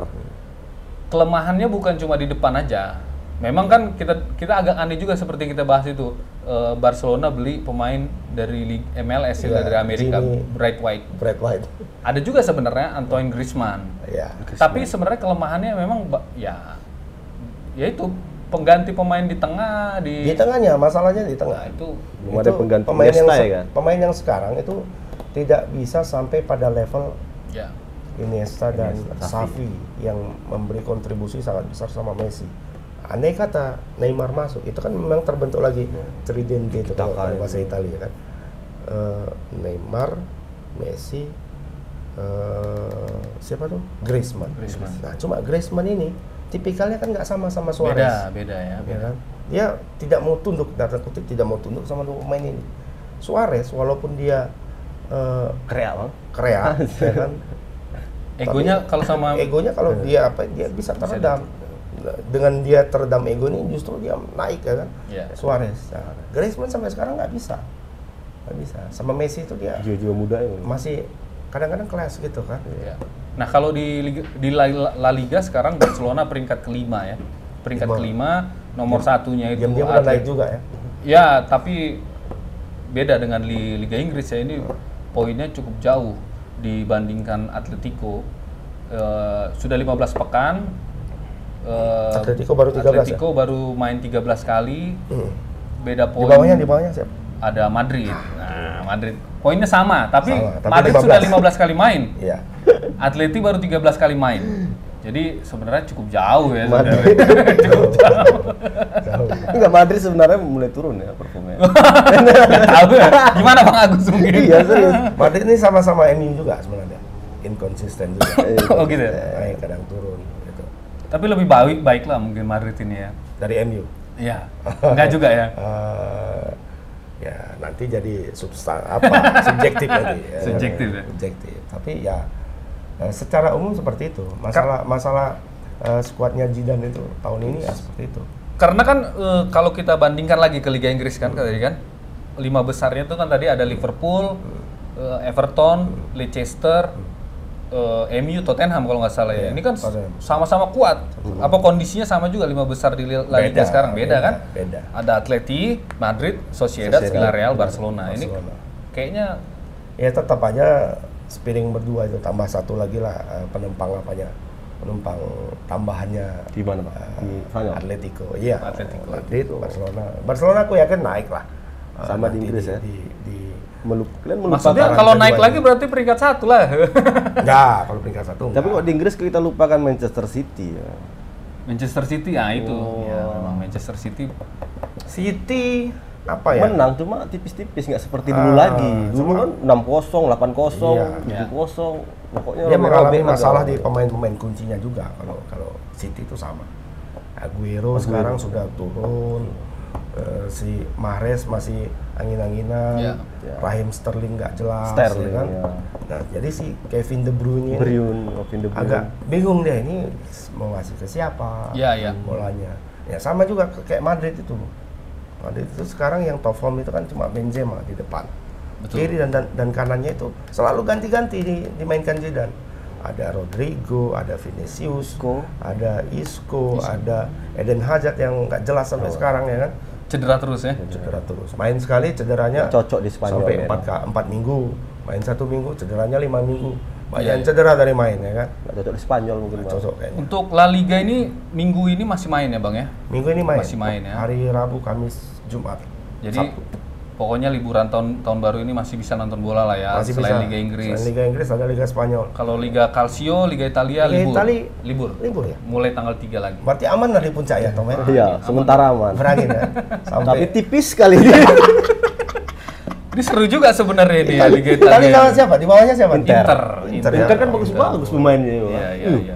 Speaker 2: Kelemahannya bukan cuma di depan aja. Memang kan kita kita agak aneh juga seperti kita bahas itu eh, Barcelona beli pemain dari Lig- MLS
Speaker 1: Iya,
Speaker 2: ya, dari Amerika,
Speaker 1: Jimmy.
Speaker 2: Bright White.
Speaker 1: Brad White.
Speaker 2: Ada juga sebenarnya Antoine Griezmann.
Speaker 1: Ya.
Speaker 2: Tapi sebenarnya kelemahannya memang ba- ya yaitu pengganti pemain di tengah di,
Speaker 1: Di tengahnya masalahnya di tengah.
Speaker 2: Nah, itu
Speaker 3: Belum ada
Speaker 1: Itu
Speaker 3: pengganti
Speaker 1: pemain yang
Speaker 3: Iniesta ya
Speaker 1: se-
Speaker 3: kan?
Speaker 1: pemain yang sekarang itu tidak bisa sampai pada level
Speaker 2: ya
Speaker 1: Iniesta dan
Speaker 3: Iniesta, Xavi.
Speaker 1: Xavi yang memberi kontribusi sangat besar sama Messi andai kata Neymar masuk itu kan memang terbentuk lagi
Speaker 3: Iya.
Speaker 1: tridente itu
Speaker 3: Kita
Speaker 1: kalau
Speaker 3: kan.
Speaker 1: kalau bahasa Italia kan Eh, Neymar Messi eh, siapa tuh Griezmann.
Speaker 2: Griezmann.
Speaker 1: nah cuma Griezmann ini tipikalnya kan nggak sama sama Suarez
Speaker 2: Beda, beda ya.
Speaker 1: ya
Speaker 2: Beda.
Speaker 1: kan? Dia tidak mau tunduk, tanda kutip tidak mau tunduk sama dua pemain ini. Suarez walaupun dia eh,
Speaker 3: Kreal.
Speaker 1: krea,
Speaker 2: [laughs]
Speaker 1: ya kan?
Speaker 2: Egonya kalau sama
Speaker 1: egonya
Speaker 2: Iya.
Speaker 1: kalau dia apa dia bisa teredam. Dengan dia teredam ego ini justru dia naik ya kan?
Speaker 2: Iya.
Speaker 1: Suarez. Nah, Griezmann sampai sekarang nggak bisa, nggak bisa. Sama Messi itu dia
Speaker 3: Jiwa-jiwa muda ya. Bang.
Speaker 1: masih kadang-kadang kelas gitu kan?
Speaker 2: Ya. Nah kalau di Liga- di La, La Liga sekarang Barcelona peringkat kelima ya, peringkat
Speaker 1: Lima.
Speaker 2: kelima nomor satunya itu
Speaker 1: Dia dia Iya. udah naik
Speaker 2: Atletico.
Speaker 1: juga ya.
Speaker 2: Ya tapi beda dengan di Liga Inggris ya ini poinnya cukup jauh dibandingkan Atletico. Eh, sudah 15 pekan. eh,
Speaker 1: Atletico baru 13 ya?
Speaker 2: Atletico baru main 13 kali.
Speaker 1: Hmm.
Speaker 2: Beda
Speaker 1: Di
Speaker 2: poin.
Speaker 1: bawahnya di bawahnya siapa?
Speaker 2: Ada Madrid. Nah, Madrid poinnya sama, tapi,
Speaker 1: Sama, tapi
Speaker 2: Madrid
Speaker 1: 15.
Speaker 2: sudah 15 kali main. [laughs]
Speaker 1: Iya.
Speaker 2: Atleti baru 13 kali main. Jadi sebenarnya cukup jauh ya
Speaker 1: Madrid.
Speaker 2: sebenarnya.
Speaker 1: Jauh.
Speaker 3: [laughs] Enggak Madrid sebenarnya mulai turun ya performanya.
Speaker 1: [laughs]
Speaker 2: Nggak tahu ya. Gimana Bang Agus mungkin?
Speaker 3: iya serius.
Speaker 1: Madrid ini sama-sama MU juga sebenarnya. Inconsistent juga.
Speaker 2: [laughs]
Speaker 1: Iya,
Speaker 2: oh gitu ya.
Speaker 1: naik kadang turun gitu.
Speaker 2: Tapi lebih baik baiklah mungkin Madrid ini ya.
Speaker 1: dari MU
Speaker 2: Iya. Enggak juga ya.
Speaker 1: Eh, ya nanti jadi substan apa
Speaker 2: [laughs]
Speaker 1: subjektif nanti ya,
Speaker 2: Subjektif ya.
Speaker 1: subjektif tapi ya eh, secara umum seperti itu masalah masalah eh, skuadnya Jidan itu tahun ini ya seperti itu
Speaker 2: Karena kan eh, kalau kita bandingkan lagi ke Liga Inggris kan tadi kan lima besarnya itu kan tadi ada Liverpool, eh, Everton, Leicester, eh, MU, Tottenham kalau nggak salah ya. Ini kan
Speaker 1: Iya, Tottenham.
Speaker 2: sama-sama kuat. Apa kondisinya sama juga lima besar di La Liga
Speaker 1: Beda,
Speaker 2: sekarang beda,
Speaker 1: beda,
Speaker 2: kan?
Speaker 1: beda.
Speaker 2: Ada Atleti, Madrid, Sociedad,
Speaker 3: Sociedad,
Speaker 2: Villarreal, Barcelona. Ini
Speaker 1: Barcelona.
Speaker 2: kayaknya
Speaker 1: ya tetap aja spiring berdua itu tambah satu lagi lah eh, penempang apanya penumpang tambahannya
Speaker 3: Di mana, Pak? Di Spanyol.
Speaker 1: Atletico iya
Speaker 2: Atletico.
Speaker 1: Madrid Barcelona Barcelona aku yakin naik lah Eh,
Speaker 3: Sama di
Speaker 1: nanti
Speaker 3: Inggris ya?
Speaker 1: di, di
Speaker 3: Melup, kalian
Speaker 2: maksudnya
Speaker 1: Tataran
Speaker 3: melupakan.
Speaker 2: kalau
Speaker 1: kedua
Speaker 2: naik
Speaker 1: aja.
Speaker 2: lagi berarti peringkat satu lah.
Speaker 1: Enggak, kalau peringkat satu
Speaker 3: Tapi
Speaker 1: enggak.
Speaker 3: kok di Inggris kita lupakan Manchester City ya.
Speaker 2: [laughs] Manchester City ya itu. Ya, memang Manchester City
Speaker 1: City apa ya?
Speaker 3: Menang cuma tipis-tipis nggak seperti dulu
Speaker 1: Ah,
Speaker 3: lagi. Dulu kan 6-0, 8-0,
Speaker 1: Iya.
Speaker 3: 7-0. Pokoknya
Speaker 1: Dia mengalami
Speaker 3: robek-robek
Speaker 1: masalah
Speaker 3: aja.
Speaker 1: di pemain-pemain kuncinya juga kalau kalau City itu sama. Aguero sekarang sudah turun. Eh, si Mahrez masih angin-anginan.
Speaker 2: Iya.
Speaker 1: Raheim Sterling nggak jelas
Speaker 3: Sterling,
Speaker 1: ya kan?
Speaker 3: iya.
Speaker 1: Nah, jadi si Kevin De Bruyne ini
Speaker 3: Briun, Robin De Bruyne.
Speaker 1: agak bingung dia ini mau ngasih ke siapa
Speaker 2: Iya, iya.
Speaker 1: bolanya. Ya sama juga ke- kayak Madrid itu. Madrid itu sekarang yang top form itu kan cuma Benzema di depan.
Speaker 2: Betul.
Speaker 1: Kiri dan, dan dan kanannya itu selalu ganti-ganti di- dimainkan Zidane. Ada Rodrigo, ada Vinicius,
Speaker 3: Isco.
Speaker 1: ada Isco, ada Eden Hazard yang nggak jelas sampai sekarang ya kan.
Speaker 2: cedera terus ya.
Speaker 1: Cedera terus. Main sekali cederanya
Speaker 3: cocok di Spanyol.
Speaker 1: sampai
Speaker 3: ya.
Speaker 1: empat ka- empat minggu. Main satu minggu cederanya lima minggu. Banyak
Speaker 2: Iya,
Speaker 1: yang cedera dari main ya kan.
Speaker 3: Nggak cocok di Spanyol mungkin.
Speaker 1: Nggak
Speaker 3: Bang.
Speaker 1: Cocok kayaknya.
Speaker 2: Untuk La Liga ini minggu ini masih main ya bang ya.
Speaker 1: Minggu ini main.
Speaker 2: Masih main ya.
Speaker 1: Hari Rabu, Kamis, Jumat.
Speaker 2: Jadi
Speaker 1: Sabtu.
Speaker 2: pokoknya liburan tahun tahun baru ini masih bisa nonton bola lah ya.
Speaker 1: Masih
Speaker 2: selain
Speaker 1: bisa.
Speaker 2: Liga Inggris.
Speaker 1: Selain Liga Inggris ada Liga Spanyol.
Speaker 2: Kalau Liga Calcio, Liga
Speaker 1: Liga
Speaker 2: Italia libur.
Speaker 1: Itali-
Speaker 2: libur.
Speaker 1: Libur ya.
Speaker 2: Mulai tanggal 3 lagi.
Speaker 1: Berarti aman lah di puncak ya, Tom ya?
Speaker 3: Iya, sementara aman.
Speaker 1: Berangin
Speaker 3: [laughs]
Speaker 1: ya.
Speaker 3: Tapi
Speaker 1: Sampai Iya,
Speaker 3: tipis sekali [laughs] ini.
Speaker 2: Ini seru juga sebenarnya di Liga
Speaker 1: Tadi
Speaker 2: Italia.
Speaker 1: lawan siapa? Di bawahnya siapa?
Speaker 2: Inter. Inter.
Speaker 1: Inter ya.
Speaker 3: Inter kan bagus-bagus pemainnya. Bang.
Speaker 2: Iya, iya,
Speaker 3: Uh,
Speaker 2: iya.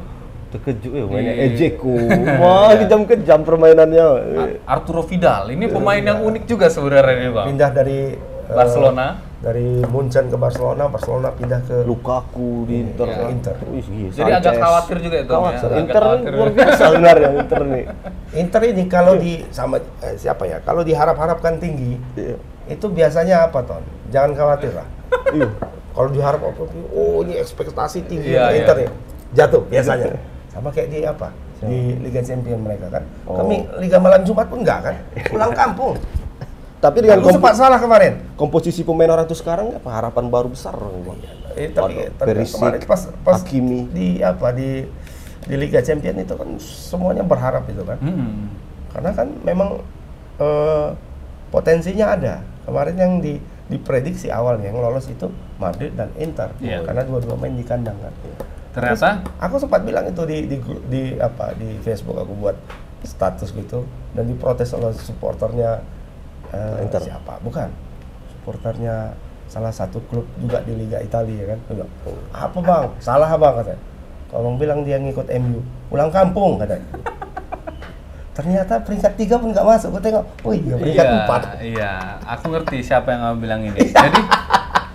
Speaker 3: Terkejut ya mainnya
Speaker 2: Iya.
Speaker 1: [laughs]
Speaker 3: Ejeko. Wah, kejam-kejam permainannya.
Speaker 1: Ah.
Speaker 3: Eh,
Speaker 2: Ar- Arturo Vidal. Ini pemain yang unik juga sebenarnya nih bang.
Speaker 1: Iya. Pindah dari eh,
Speaker 2: Barcelona.
Speaker 1: dari Munchen ke Barcelona, Barcelona pindah ke
Speaker 3: Lukaku di Inter.
Speaker 1: Iya, Inter.
Speaker 3: Wih, gila,
Speaker 2: Jadi agak
Speaker 3: Sanchez.
Speaker 2: khawatir juga itu, Tom, ya.
Speaker 3: Khawatir.
Speaker 2: Agak
Speaker 3: Inter
Speaker 2: khawatir.
Speaker 3: luar biasa sebenarnya Inter nih.
Speaker 1: Inter ini kalau di sama eh, siapa ya? Kalau diharap-harapkan tinggi,
Speaker 3: Iya.
Speaker 1: itu biasanya apa, Ton? Jangan khawatir lah.
Speaker 3: Iya.
Speaker 1: Kalau diharap apa oh ini ekspektasi tinggi dari
Speaker 2: Iya, iya.
Speaker 1: Inter nih. Jatuh biasanya.
Speaker 3: Iya.
Speaker 1: Sama kayak di apa? Di Liga Champion mereka kan.
Speaker 3: Oh.
Speaker 1: Kami Liga malam Jumat pun enggak kan. Pulang kampung.
Speaker 3: Tapi dengan
Speaker 1: Aku
Speaker 3: kompo-
Speaker 1: sempat salah kemarin.
Speaker 3: komposisi pemain orang itu sekarang apa harapan baru besar Bang.
Speaker 1: Eh, tapi,
Speaker 3: Waduh,
Speaker 1: tapi
Speaker 3: Perisic,
Speaker 1: kemarin pas pas
Speaker 3: Hakimi.
Speaker 1: di apa di di Liga Champion itu kan semuanya berharap itu kan.
Speaker 2: Mm-mm.
Speaker 1: Karena kan memang eh, potensinya ada. Kemarin yang di diprediksi awalnya yang lolos itu Madrid dan Inter
Speaker 2: Iya.
Speaker 1: karena dua-dua main di kandang kan.
Speaker 2: Ternyata
Speaker 1: Aku sempat bilang itu di di gru- di apa di Facebook aku buat. status gitu dan diprotes oleh supporternya eh,
Speaker 3: Inter.
Speaker 1: siapa? Bukan. Supporternya salah satu klub juga di Liga Italia kan. Dia bilang, Apa bang? Salah bang katanya. Kalau bang bilang dia ngikut MU, pulang kampung katanya. Ternyata peringkat tiga pun nggak masuk. Gue tengok, wih dia peringkat
Speaker 2: iya,
Speaker 1: empat.
Speaker 2: Iya, aku ngerti siapa yang kamu bilang ini.
Speaker 1: [laughs]
Speaker 2: jadi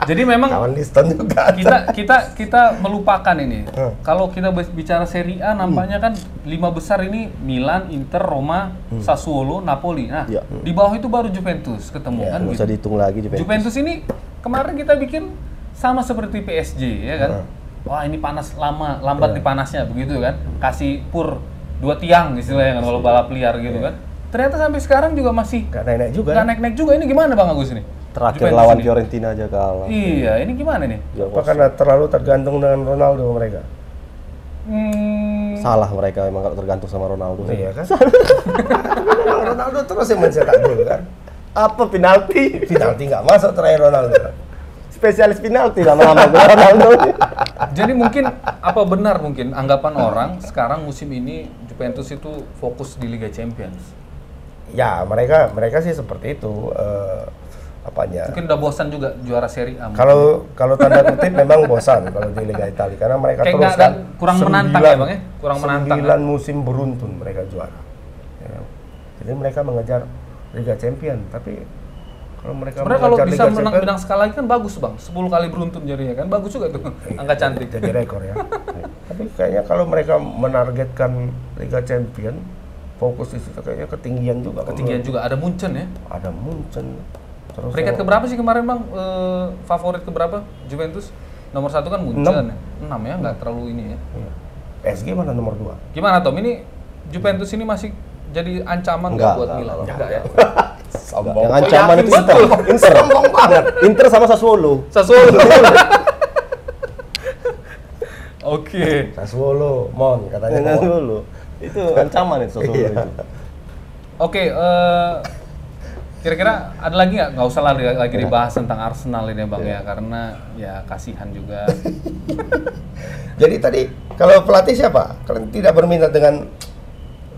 Speaker 2: jadi memang
Speaker 1: Kawan Liston juga.
Speaker 2: kita kita kita melupakan ini.
Speaker 1: Hmm.
Speaker 2: Kalau kita bes- bicara Serie A nampaknya kan lima besar ini Milan, Inter, Roma,
Speaker 1: Hmm.
Speaker 2: Sassuolo, Napoli.
Speaker 1: Ya.
Speaker 2: Nah,
Speaker 3: Iya.
Speaker 2: di bawah itu baru Juventus ketemu kan
Speaker 3: nggak
Speaker 2: gitu.
Speaker 3: usah dihitung lagi Juventus.
Speaker 2: Juventus ini kemarin kita bikin sama seperti PSG ya kan. Wah ini panas lama, lambat dipanasnya begitu kan. Kasih pur dua tiang istilahnya kan kalau balap liar gitu kan. Ternyata sampai sekarang juga masih
Speaker 1: Gak naik-naik juga. kan?
Speaker 2: nggak naik-naik juga. Ini gimana Bang Agus ini?
Speaker 3: Terakhir
Speaker 2: Juventus
Speaker 3: lawan
Speaker 2: ini.
Speaker 3: Fiorentina aja kalah.
Speaker 2: Iya, ini gimana nih?
Speaker 3: Juga
Speaker 1: Apa
Speaker 3: kosong.
Speaker 1: karena terlalu tergantung dengan Ronaldo mereka?
Speaker 2: Hmm,
Speaker 3: Salah mereka memang kalau tergantung sama Ronaldo.
Speaker 1: Iya kan? Memang Ronaldo terus yang mencetak gol kan.
Speaker 3: Apa penalti?
Speaker 1: Penalti nggak masuk terakhir Ronaldo.
Speaker 3: Spesialis penalti lama-lama [laughs] gua Ronaldo.
Speaker 2: jadi mungkin apa benar mungkin anggapan orang sekarang musim ini Juventus itu fokus di Liga Champions.
Speaker 1: Ya mereka mereka sih seperti itu. eh, apanya?
Speaker 2: Mungkin udah bosan juga juara Serie A.
Speaker 1: Iya.
Speaker 2: mungkin.
Speaker 1: Kalau kalau tanda kutip memang bosan kalau di Liga Italia karena mereka
Speaker 2: Kayak
Speaker 1: terus
Speaker 2: nggak-
Speaker 1: kan
Speaker 2: nggak- kurang menantang ya, Bang, ya? Kurang menantang,
Speaker 1: Sembilan musim beruntun mereka juara. Ya kan? Jadi mereka mengejar Liga Champion, tapi kalau mereka
Speaker 2: Sebenarnya kalau
Speaker 1: mengejar
Speaker 2: bisa
Speaker 1: Liga
Speaker 2: menang
Speaker 1: Champion,
Speaker 2: bidang sekali lagi kan bagus bang, 10 kali beruntun jadinya kan bagus juga tuh,
Speaker 3: Iya.
Speaker 2: angka cantik.
Speaker 1: jadi rekor ya. Tapi kayaknya kalau mereka menargetkan Liga Champion, fokus di situ kayaknya ketinggian juga.
Speaker 2: Ketinggian juga ada Munchen ya.
Speaker 1: Ada Munchen. Terus
Speaker 2: Peringkat
Speaker 1: yang
Speaker 2: keberapa sih kemarin bang? Eh, favorit keberapa Juventus? Nomor satu kan Munchen
Speaker 1: Enam.
Speaker 2: ya, enam ya nggak terlalu ini ya.
Speaker 1: iya. PSG mana nomor dua?
Speaker 2: Gimana Tom? Ini Juventus ini masih jadi ancaman nggak
Speaker 3: Nggak,
Speaker 2: buat
Speaker 3: nggak,
Speaker 2: Milan?
Speaker 3: nggak,
Speaker 2: Nggak ya. [laughs]
Speaker 1: Sombong.
Speaker 3: Yang ancaman itu Inter. Inter. banget. Inter sama Sassuolo.
Speaker 2: Sassuolo.
Speaker 3: [laughs]
Speaker 2: Oke.
Speaker 1: Sassuolo, Mon katanya. Mon.
Speaker 3: Sassuolo. Itu ancaman itu Sassuolo
Speaker 1: Iya.
Speaker 3: itu.
Speaker 2: Oke, eh, kira-kira ada lagi nggak? Nggak usah lah di- lagi
Speaker 1: Iya.
Speaker 2: dibahas tentang Arsenal ini ya, Bang ya, karena ya kasihan juga. [laughs]
Speaker 1: Jadi tadi kalau pelatih siapa? Kalian tidak berminat dengan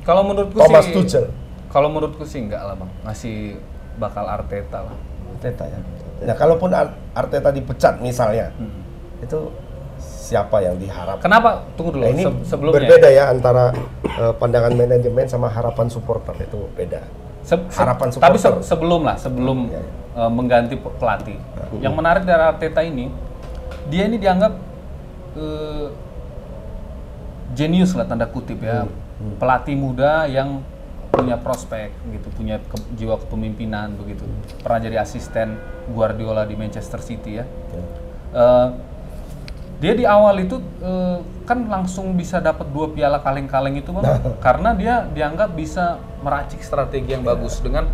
Speaker 2: Kalau menurutku
Speaker 1: Thomas
Speaker 2: sih
Speaker 1: Tuchel.
Speaker 2: Kalau menurutku sih enggak lah, Bang. Masih bakal Arteta lah.
Speaker 1: Arteta ya. Nah, kalaupun Ar- Arteta dipecat misalnya,
Speaker 2: Hmm.
Speaker 1: itu siapa yang diharapkan?
Speaker 2: Kenapa? Tunggu dulu.
Speaker 1: Nah, ini
Speaker 2: se- sebelumnya.
Speaker 1: berbeda ya antara eh, pandangan manajemen sama harapan supporter itu beda.
Speaker 2: Se- se-
Speaker 1: Harapan
Speaker 2: Tapi se-
Speaker 1: supporter.
Speaker 2: sebelum lah, sebelum
Speaker 1: Iya,
Speaker 2: eh, mengganti pe- pelatih. Yang menarik dari Arteta ini, dia ini dianggap eh, genius lah tanda kutip
Speaker 1: Hmm,
Speaker 2: ya, pelatih muda yang punya prospek gitu, punya ke- jiwa kepemimpinan begitu.
Speaker 1: Hmm.
Speaker 2: Pernah jadi asisten Guardiola di Manchester City ya. Eh, dia di awal itu eh, kan langsung bisa dapat dua piala kaleng-kaleng itu
Speaker 1: Nah.
Speaker 2: bang, [laughs] karena dia dianggap bisa meracik strategi
Speaker 1: Iya.
Speaker 2: yang bagus dengan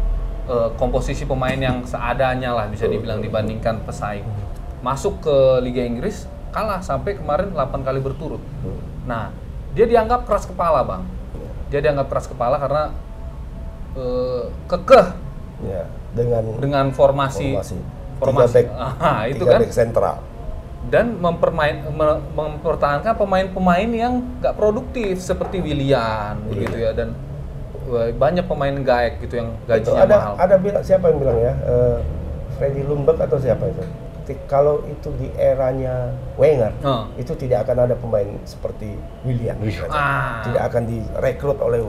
Speaker 2: eh, komposisi pemain yang seadanya lah bisa dibilang dibandingkan pesaing.
Speaker 1: Hmm.
Speaker 2: Masuk ke Liga Inggris kalah sampai kemarin 8 kali berturut. Nah dia dianggap keras kepala bang, dia dianggap keras kepala karena eh, kekeh
Speaker 1: Ya, dengan
Speaker 2: dengan formasi
Speaker 1: Formasi. Tiga
Speaker 2: formasi
Speaker 1: back.
Speaker 2: Ah, Nah, [laughs] itu
Speaker 1: tiga
Speaker 2: kan
Speaker 1: back sentral.
Speaker 2: dan mempermain me- mempertahankan pemain-pemain yang nggak produktif seperti Willian
Speaker 1: Iya.
Speaker 2: begitu ya dan eh, banyak pemain gaek gitu yang
Speaker 1: Itu
Speaker 2: gajinya
Speaker 1: ada
Speaker 2: mahal.
Speaker 1: ada bilang siapa yang bilang ya? Eh, Freddy Lundberg atau siapa itu? Ketik- Kalau itu di eranya Wenger,
Speaker 2: Heeh.
Speaker 1: itu tidak akan ada pemain seperti William.
Speaker 2: Ah.
Speaker 1: Tidak akan direkrut oleh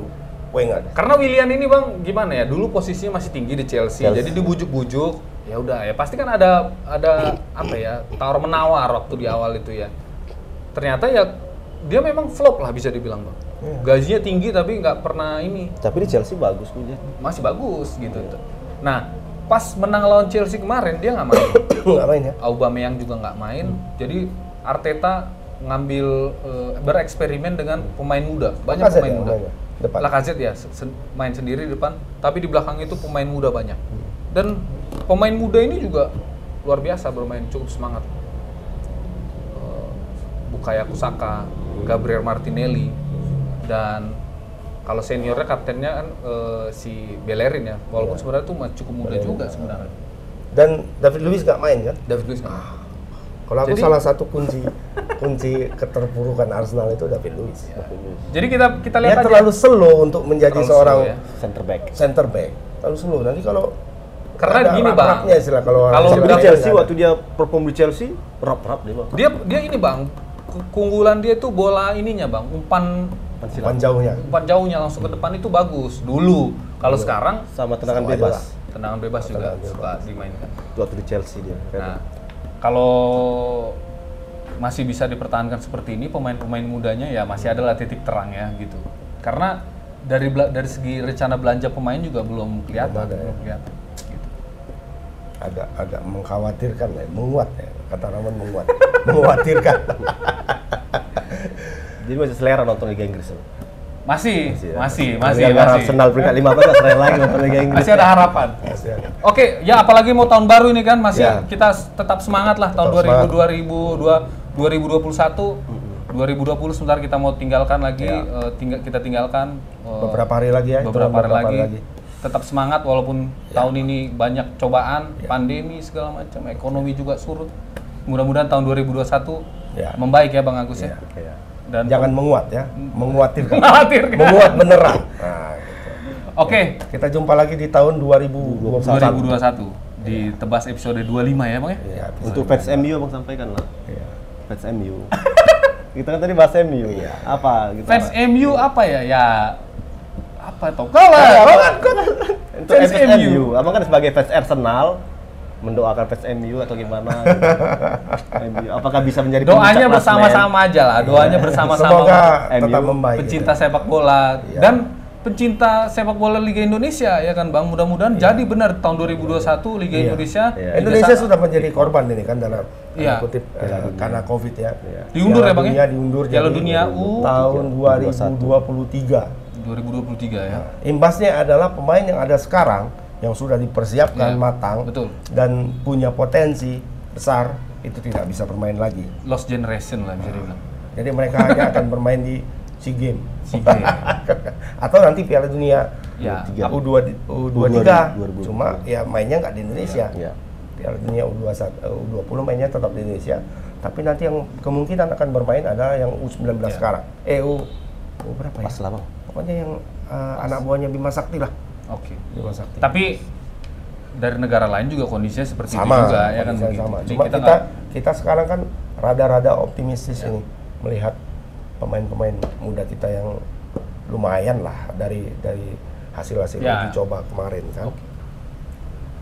Speaker 1: Wenger. [laughs]
Speaker 2: Karena Willian ini bang gimana ya dulu posisinya masih tinggi di Chelsea,
Speaker 3: Chelsea.
Speaker 2: jadi dibujuk-bujuk ya udah ya pasti kan ada ada apa ya tawar menawar waktu di awal itu ya ternyata ya dia memang flop lah bisa dibilang bang
Speaker 1: Iya.
Speaker 2: gajinya tinggi tapi nggak pernah ini
Speaker 3: Tapi di Chelsea bagus punya.
Speaker 2: masih bagus gitu. Nah, pas menang lawan Chelsea kemarin dia nggak main. [coughs]
Speaker 1: Nggak main ya?
Speaker 2: Aubameyang juga nggak main. Jadi Arteta ngambil eh, bereksperimen dengan pemain muda. Banyak
Speaker 1: Lacazette
Speaker 2: pemain
Speaker 1: ya
Speaker 2: muda.
Speaker 1: mainnya, depan.
Speaker 2: Lacazette ya se- se- main sendiri di depan, tapi di belakang itu pemain muda banyak. Dan pemain muda ini juga luar biasa bermain cukup semangat. Eh, Bukayo Kusaka, Gabriel Martinelli dan kalau seniornya kaptennya kan eh, si Bellerin ya, walaupun
Speaker 1: Iya.
Speaker 2: sebenarnya itu mah cukup muda juga sebenarnya.
Speaker 1: Dan David Luiz nggak main kan?
Speaker 2: David Luiz nggak main.
Speaker 1: Kalau aku
Speaker 2: Jadi-
Speaker 1: salah satu kunci kunci keterpurukan Arsenal itu David Luiz.
Speaker 2: Jadi kita kita
Speaker 1: Dia
Speaker 2: lihat aja.
Speaker 1: terlalu slow untuk menjadi
Speaker 2: Iya. Terlalu
Speaker 1: seorang
Speaker 2: slow ya.
Speaker 3: Center back.
Speaker 1: center back. Terlalu slow. Nanti kalau
Speaker 2: Karena
Speaker 1: ada
Speaker 2: gini, Bang.
Speaker 1: rak-raknya istilah kalau orang
Speaker 2: Kalau
Speaker 1: istilah
Speaker 3: Seperti
Speaker 2: bilang
Speaker 1: lain
Speaker 3: Chelsea
Speaker 1: ada.
Speaker 3: waktu dia perform di Chelsea rap-rap dia bang.
Speaker 2: Dia dia ini bang, ke- keunggulan dia tuh bola ininya bang, umpan
Speaker 1: umpan jauhnya.
Speaker 2: umpan jauhnya langsung ke depan itu bagus dulu. Kalau sekarang
Speaker 3: Sama tendangan
Speaker 1: Sama aja
Speaker 3: bebas.
Speaker 1: lah.
Speaker 2: tendangan bebas juga
Speaker 1: Tendangan
Speaker 2: suka dimainkan.
Speaker 3: Waktu di Chelsea dia.
Speaker 2: Nah, kalau masih bisa dipertahankan seperti ini pemain-pemain mudanya ya masih adalah titik terang ya gitu. Karena dari bela- dari segi rencana belanja pemain juga belum kelihatan.
Speaker 1: ada ya.
Speaker 2: belum kelihatan. Gitu.
Speaker 1: agak agak mengkhawatirkan lah, menguat ya. Kata Raman menguat, [laughs] mengkhawatirkan.
Speaker 3: Jadi masih selera nonton Liga Inggris. Bang.
Speaker 2: Masih,
Speaker 3: ya.
Speaker 2: masih, masih,
Speaker 3: Lihat
Speaker 2: masih.
Speaker 3: Arsenal peringkat 15 selera lagi nonton Liga Inggris.
Speaker 2: Masih ada harapan.
Speaker 1: Kasihan.
Speaker 2: Oke, ya apalagi mau tahun baru ini kan masih
Speaker 3: Ya.
Speaker 2: kita s- tetap semangat lah tahun
Speaker 1: Tetap semangat.
Speaker 2: 2000 2000 2021 2020 sebentar kita mau tinggalkan lagi eh, tinggal kita tinggalkan eh,
Speaker 1: Ya. beberapa hari lagi ya. itu
Speaker 2: beberapa hari lagi. Tetap semangat walaupun tahun ini banyak cobaan,
Speaker 1: Ya.
Speaker 2: pandemi segala macam, ekonomi juga surut. Mudah-mudahan tahun 2021
Speaker 1: Ya.
Speaker 2: membaik ya Bang Agus ya.
Speaker 3: Iya.
Speaker 2: Dan [laughs] Hmm.
Speaker 1: Jangan menguat ya, mengkhawatirkan.
Speaker 2: Mengkhawatirkan.
Speaker 1: Menguat
Speaker 2: [laughs]
Speaker 1: beneran. Nah, gitu.
Speaker 2: Oke,
Speaker 1: Kita jumpa lagi di tahun Ya. 2021.
Speaker 2: 2021 di Tebas episode 25 ya Bang ya.
Speaker 1: Ya, bisa.
Speaker 3: Untuk fans MU bang sampaikan lah.
Speaker 1: Ya.
Speaker 3: Fans MU. [laughs] kita kan tadi bahas MU ya. Apa gitu?
Speaker 2: Fans
Speaker 3: Pak?
Speaker 2: MU apa ya? Ya apa toh?
Speaker 1: Iya,
Speaker 2: Kalah.
Speaker 1: kan?
Speaker 3: Untuk
Speaker 2: Fans
Speaker 3: fans,
Speaker 2: MU.
Speaker 3: MU. Abang kan sebagai fans Arsenal mendoakan fans MU atau gimana? [laughs] gitu. MU. Apakah bisa menjadi
Speaker 2: Doanya
Speaker 3: puncak
Speaker 2: bersama-sama aja lah. Doanya bersama-sama.
Speaker 1: Iya. Semoga
Speaker 3: MU,
Speaker 1: tetap membaik.
Speaker 2: Pencinta
Speaker 1: ya.
Speaker 2: sepak bola dan pencinta sepak bola Liga Indonesia ya kan Bang. Mudah-mudahan jadi benar tahun 2021 Liga
Speaker 1: Iya.
Speaker 2: Indonesia.
Speaker 3: Iya.
Speaker 2: Liga
Speaker 1: Indonesia
Speaker 2: sa-
Speaker 1: sudah menjadi korban ini kan dalam
Speaker 2: Iya.
Speaker 1: tanda kutip eh, karena Covid ya.
Speaker 2: Diundur
Speaker 1: Piala
Speaker 2: ya, Bang, ya?
Speaker 1: Dunia diundur
Speaker 2: Piala
Speaker 1: jadi
Speaker 2: Dunia uh, U-
Speaker 1: tahun 2023. Iya.
Speaker 2: 2023 ya.
Speaker 1: Imbasnya adalah pemain yang ada sekarang yang sudah dipersiapkan
Speaker 2: Ya,
Speaker 1: matang
Speaker 2: betul.
Speaker 1: dan punya potensi besar itu tidak bisa bermain lagi.
Speaker 2: Lost generation lah bisa
Speaker 1: [laughs]
Speaker 2: dibilang.
Speaker 1: Jadi mereka hanya
Speaker 2: [laughs]
Speaker 1: akan bermain di SEA Games
Speaker 2: Si G.
Speaker 1: atau nanti Piala Dunia
Speaker 2: ya.
Speaker 3: Tiga.
Speaker 2: aku-
Speaker 1: U2 U23.
Speaker 3: 2022.
Speaker 1: Cuma ya mainnya nggak di Indonesia.
Speaker 3: Iya.
Speaker 1: Piala Dunia U21 eh, U20 mainnya tetap di Indonesia. Tapi nanti yang kemungkinan akan bermain adalah yang U19
Speaker 2: Iya.
Speaker 1: sekarang. Eh U, U berapa ya?
Speaker 3: Pas lah bang.
Speaker 1: Pokoknya yang eh, anak buahnya Bima Sakti lah.
Speaker 2: Oke.
Speaker 1: Bima Sakti.
Speaker 2: Tapi dari negara lain juga kondisinya seperti itu
Speaker 1: sama,
Speaker 2: juga ya kan
Speaker 1: kondisinya
Speaker 2: begitu.
Speaker 1: sama.
Speaker 2: Jadi
Speaker 1: Cuma kita kita,
Speaker 2: nggak- Iya.
Speaker 1: sekarang kan rada-rada optimistis ini melihat pemain-pemain muda kita yang lumayan lah dari dari hasil-hasil
Speaker 2: Ya.
Speaker 1: yang dicoba kemarin kan.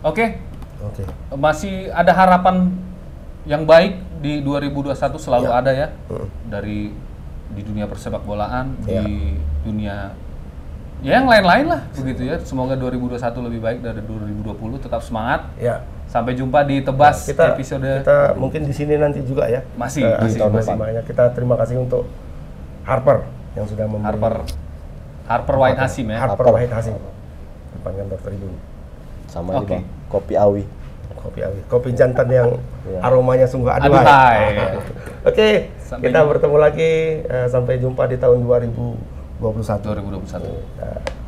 Speaker 2: Oke.
Speaker 1: Oke.
Speaker 2: masih ada harapan yang baik di 2021 selalu
Speaker 1: Ya.
Speaker 2: ada ya
Speaker 1: Mm.
Speaker 2: dari di dunia persepak bolaan
Speaker 1: Ya.
Speaker 2: di dunia ya yang lain-lain lah begitu ya semoga 2021 lebih baik dari 2020 tetap semangat
Speaker 1: Ya.
Speaker 2: sampai jumpa di tebas
Speaker 1: kita
Speaker 2: episode
Speaker 1: kita mungkin di sini nanti juga ya
Speaker 2: Masih,
Speaker 1: Eh,
Speaker 2: masih,
Speaker 1: tahun
Speaker 2: masih.
Speaker 1: banyak kita terima kasih untuk Harper yang sudah memberi
Speaker 2: Harper Harper White Hasim ya
Speaker 1: Harper
Speaker 3: Harper.
Speaker 1: Wahid Hasim dipanggil dokter ibu
Speaker 3: Sama ini
Speaker 2: Oke.
Speaker 3: bang. Kopi awi.
Speaker 1: kopi awi kopi jantan yang
Speaker 3: Iya.
Speaker 1: aromanya sungguh aduhai,
Speaker 2: Aduhai.
Speaker 1: oke
Speaker 2: Sampai
Speaker 1: kita
Speaker 2: jumpa.
Speaker 1: bertemu lagi eh, sampai jumpa di tahun 2021
Speaker 2: 2021
Speaker 1: Nah,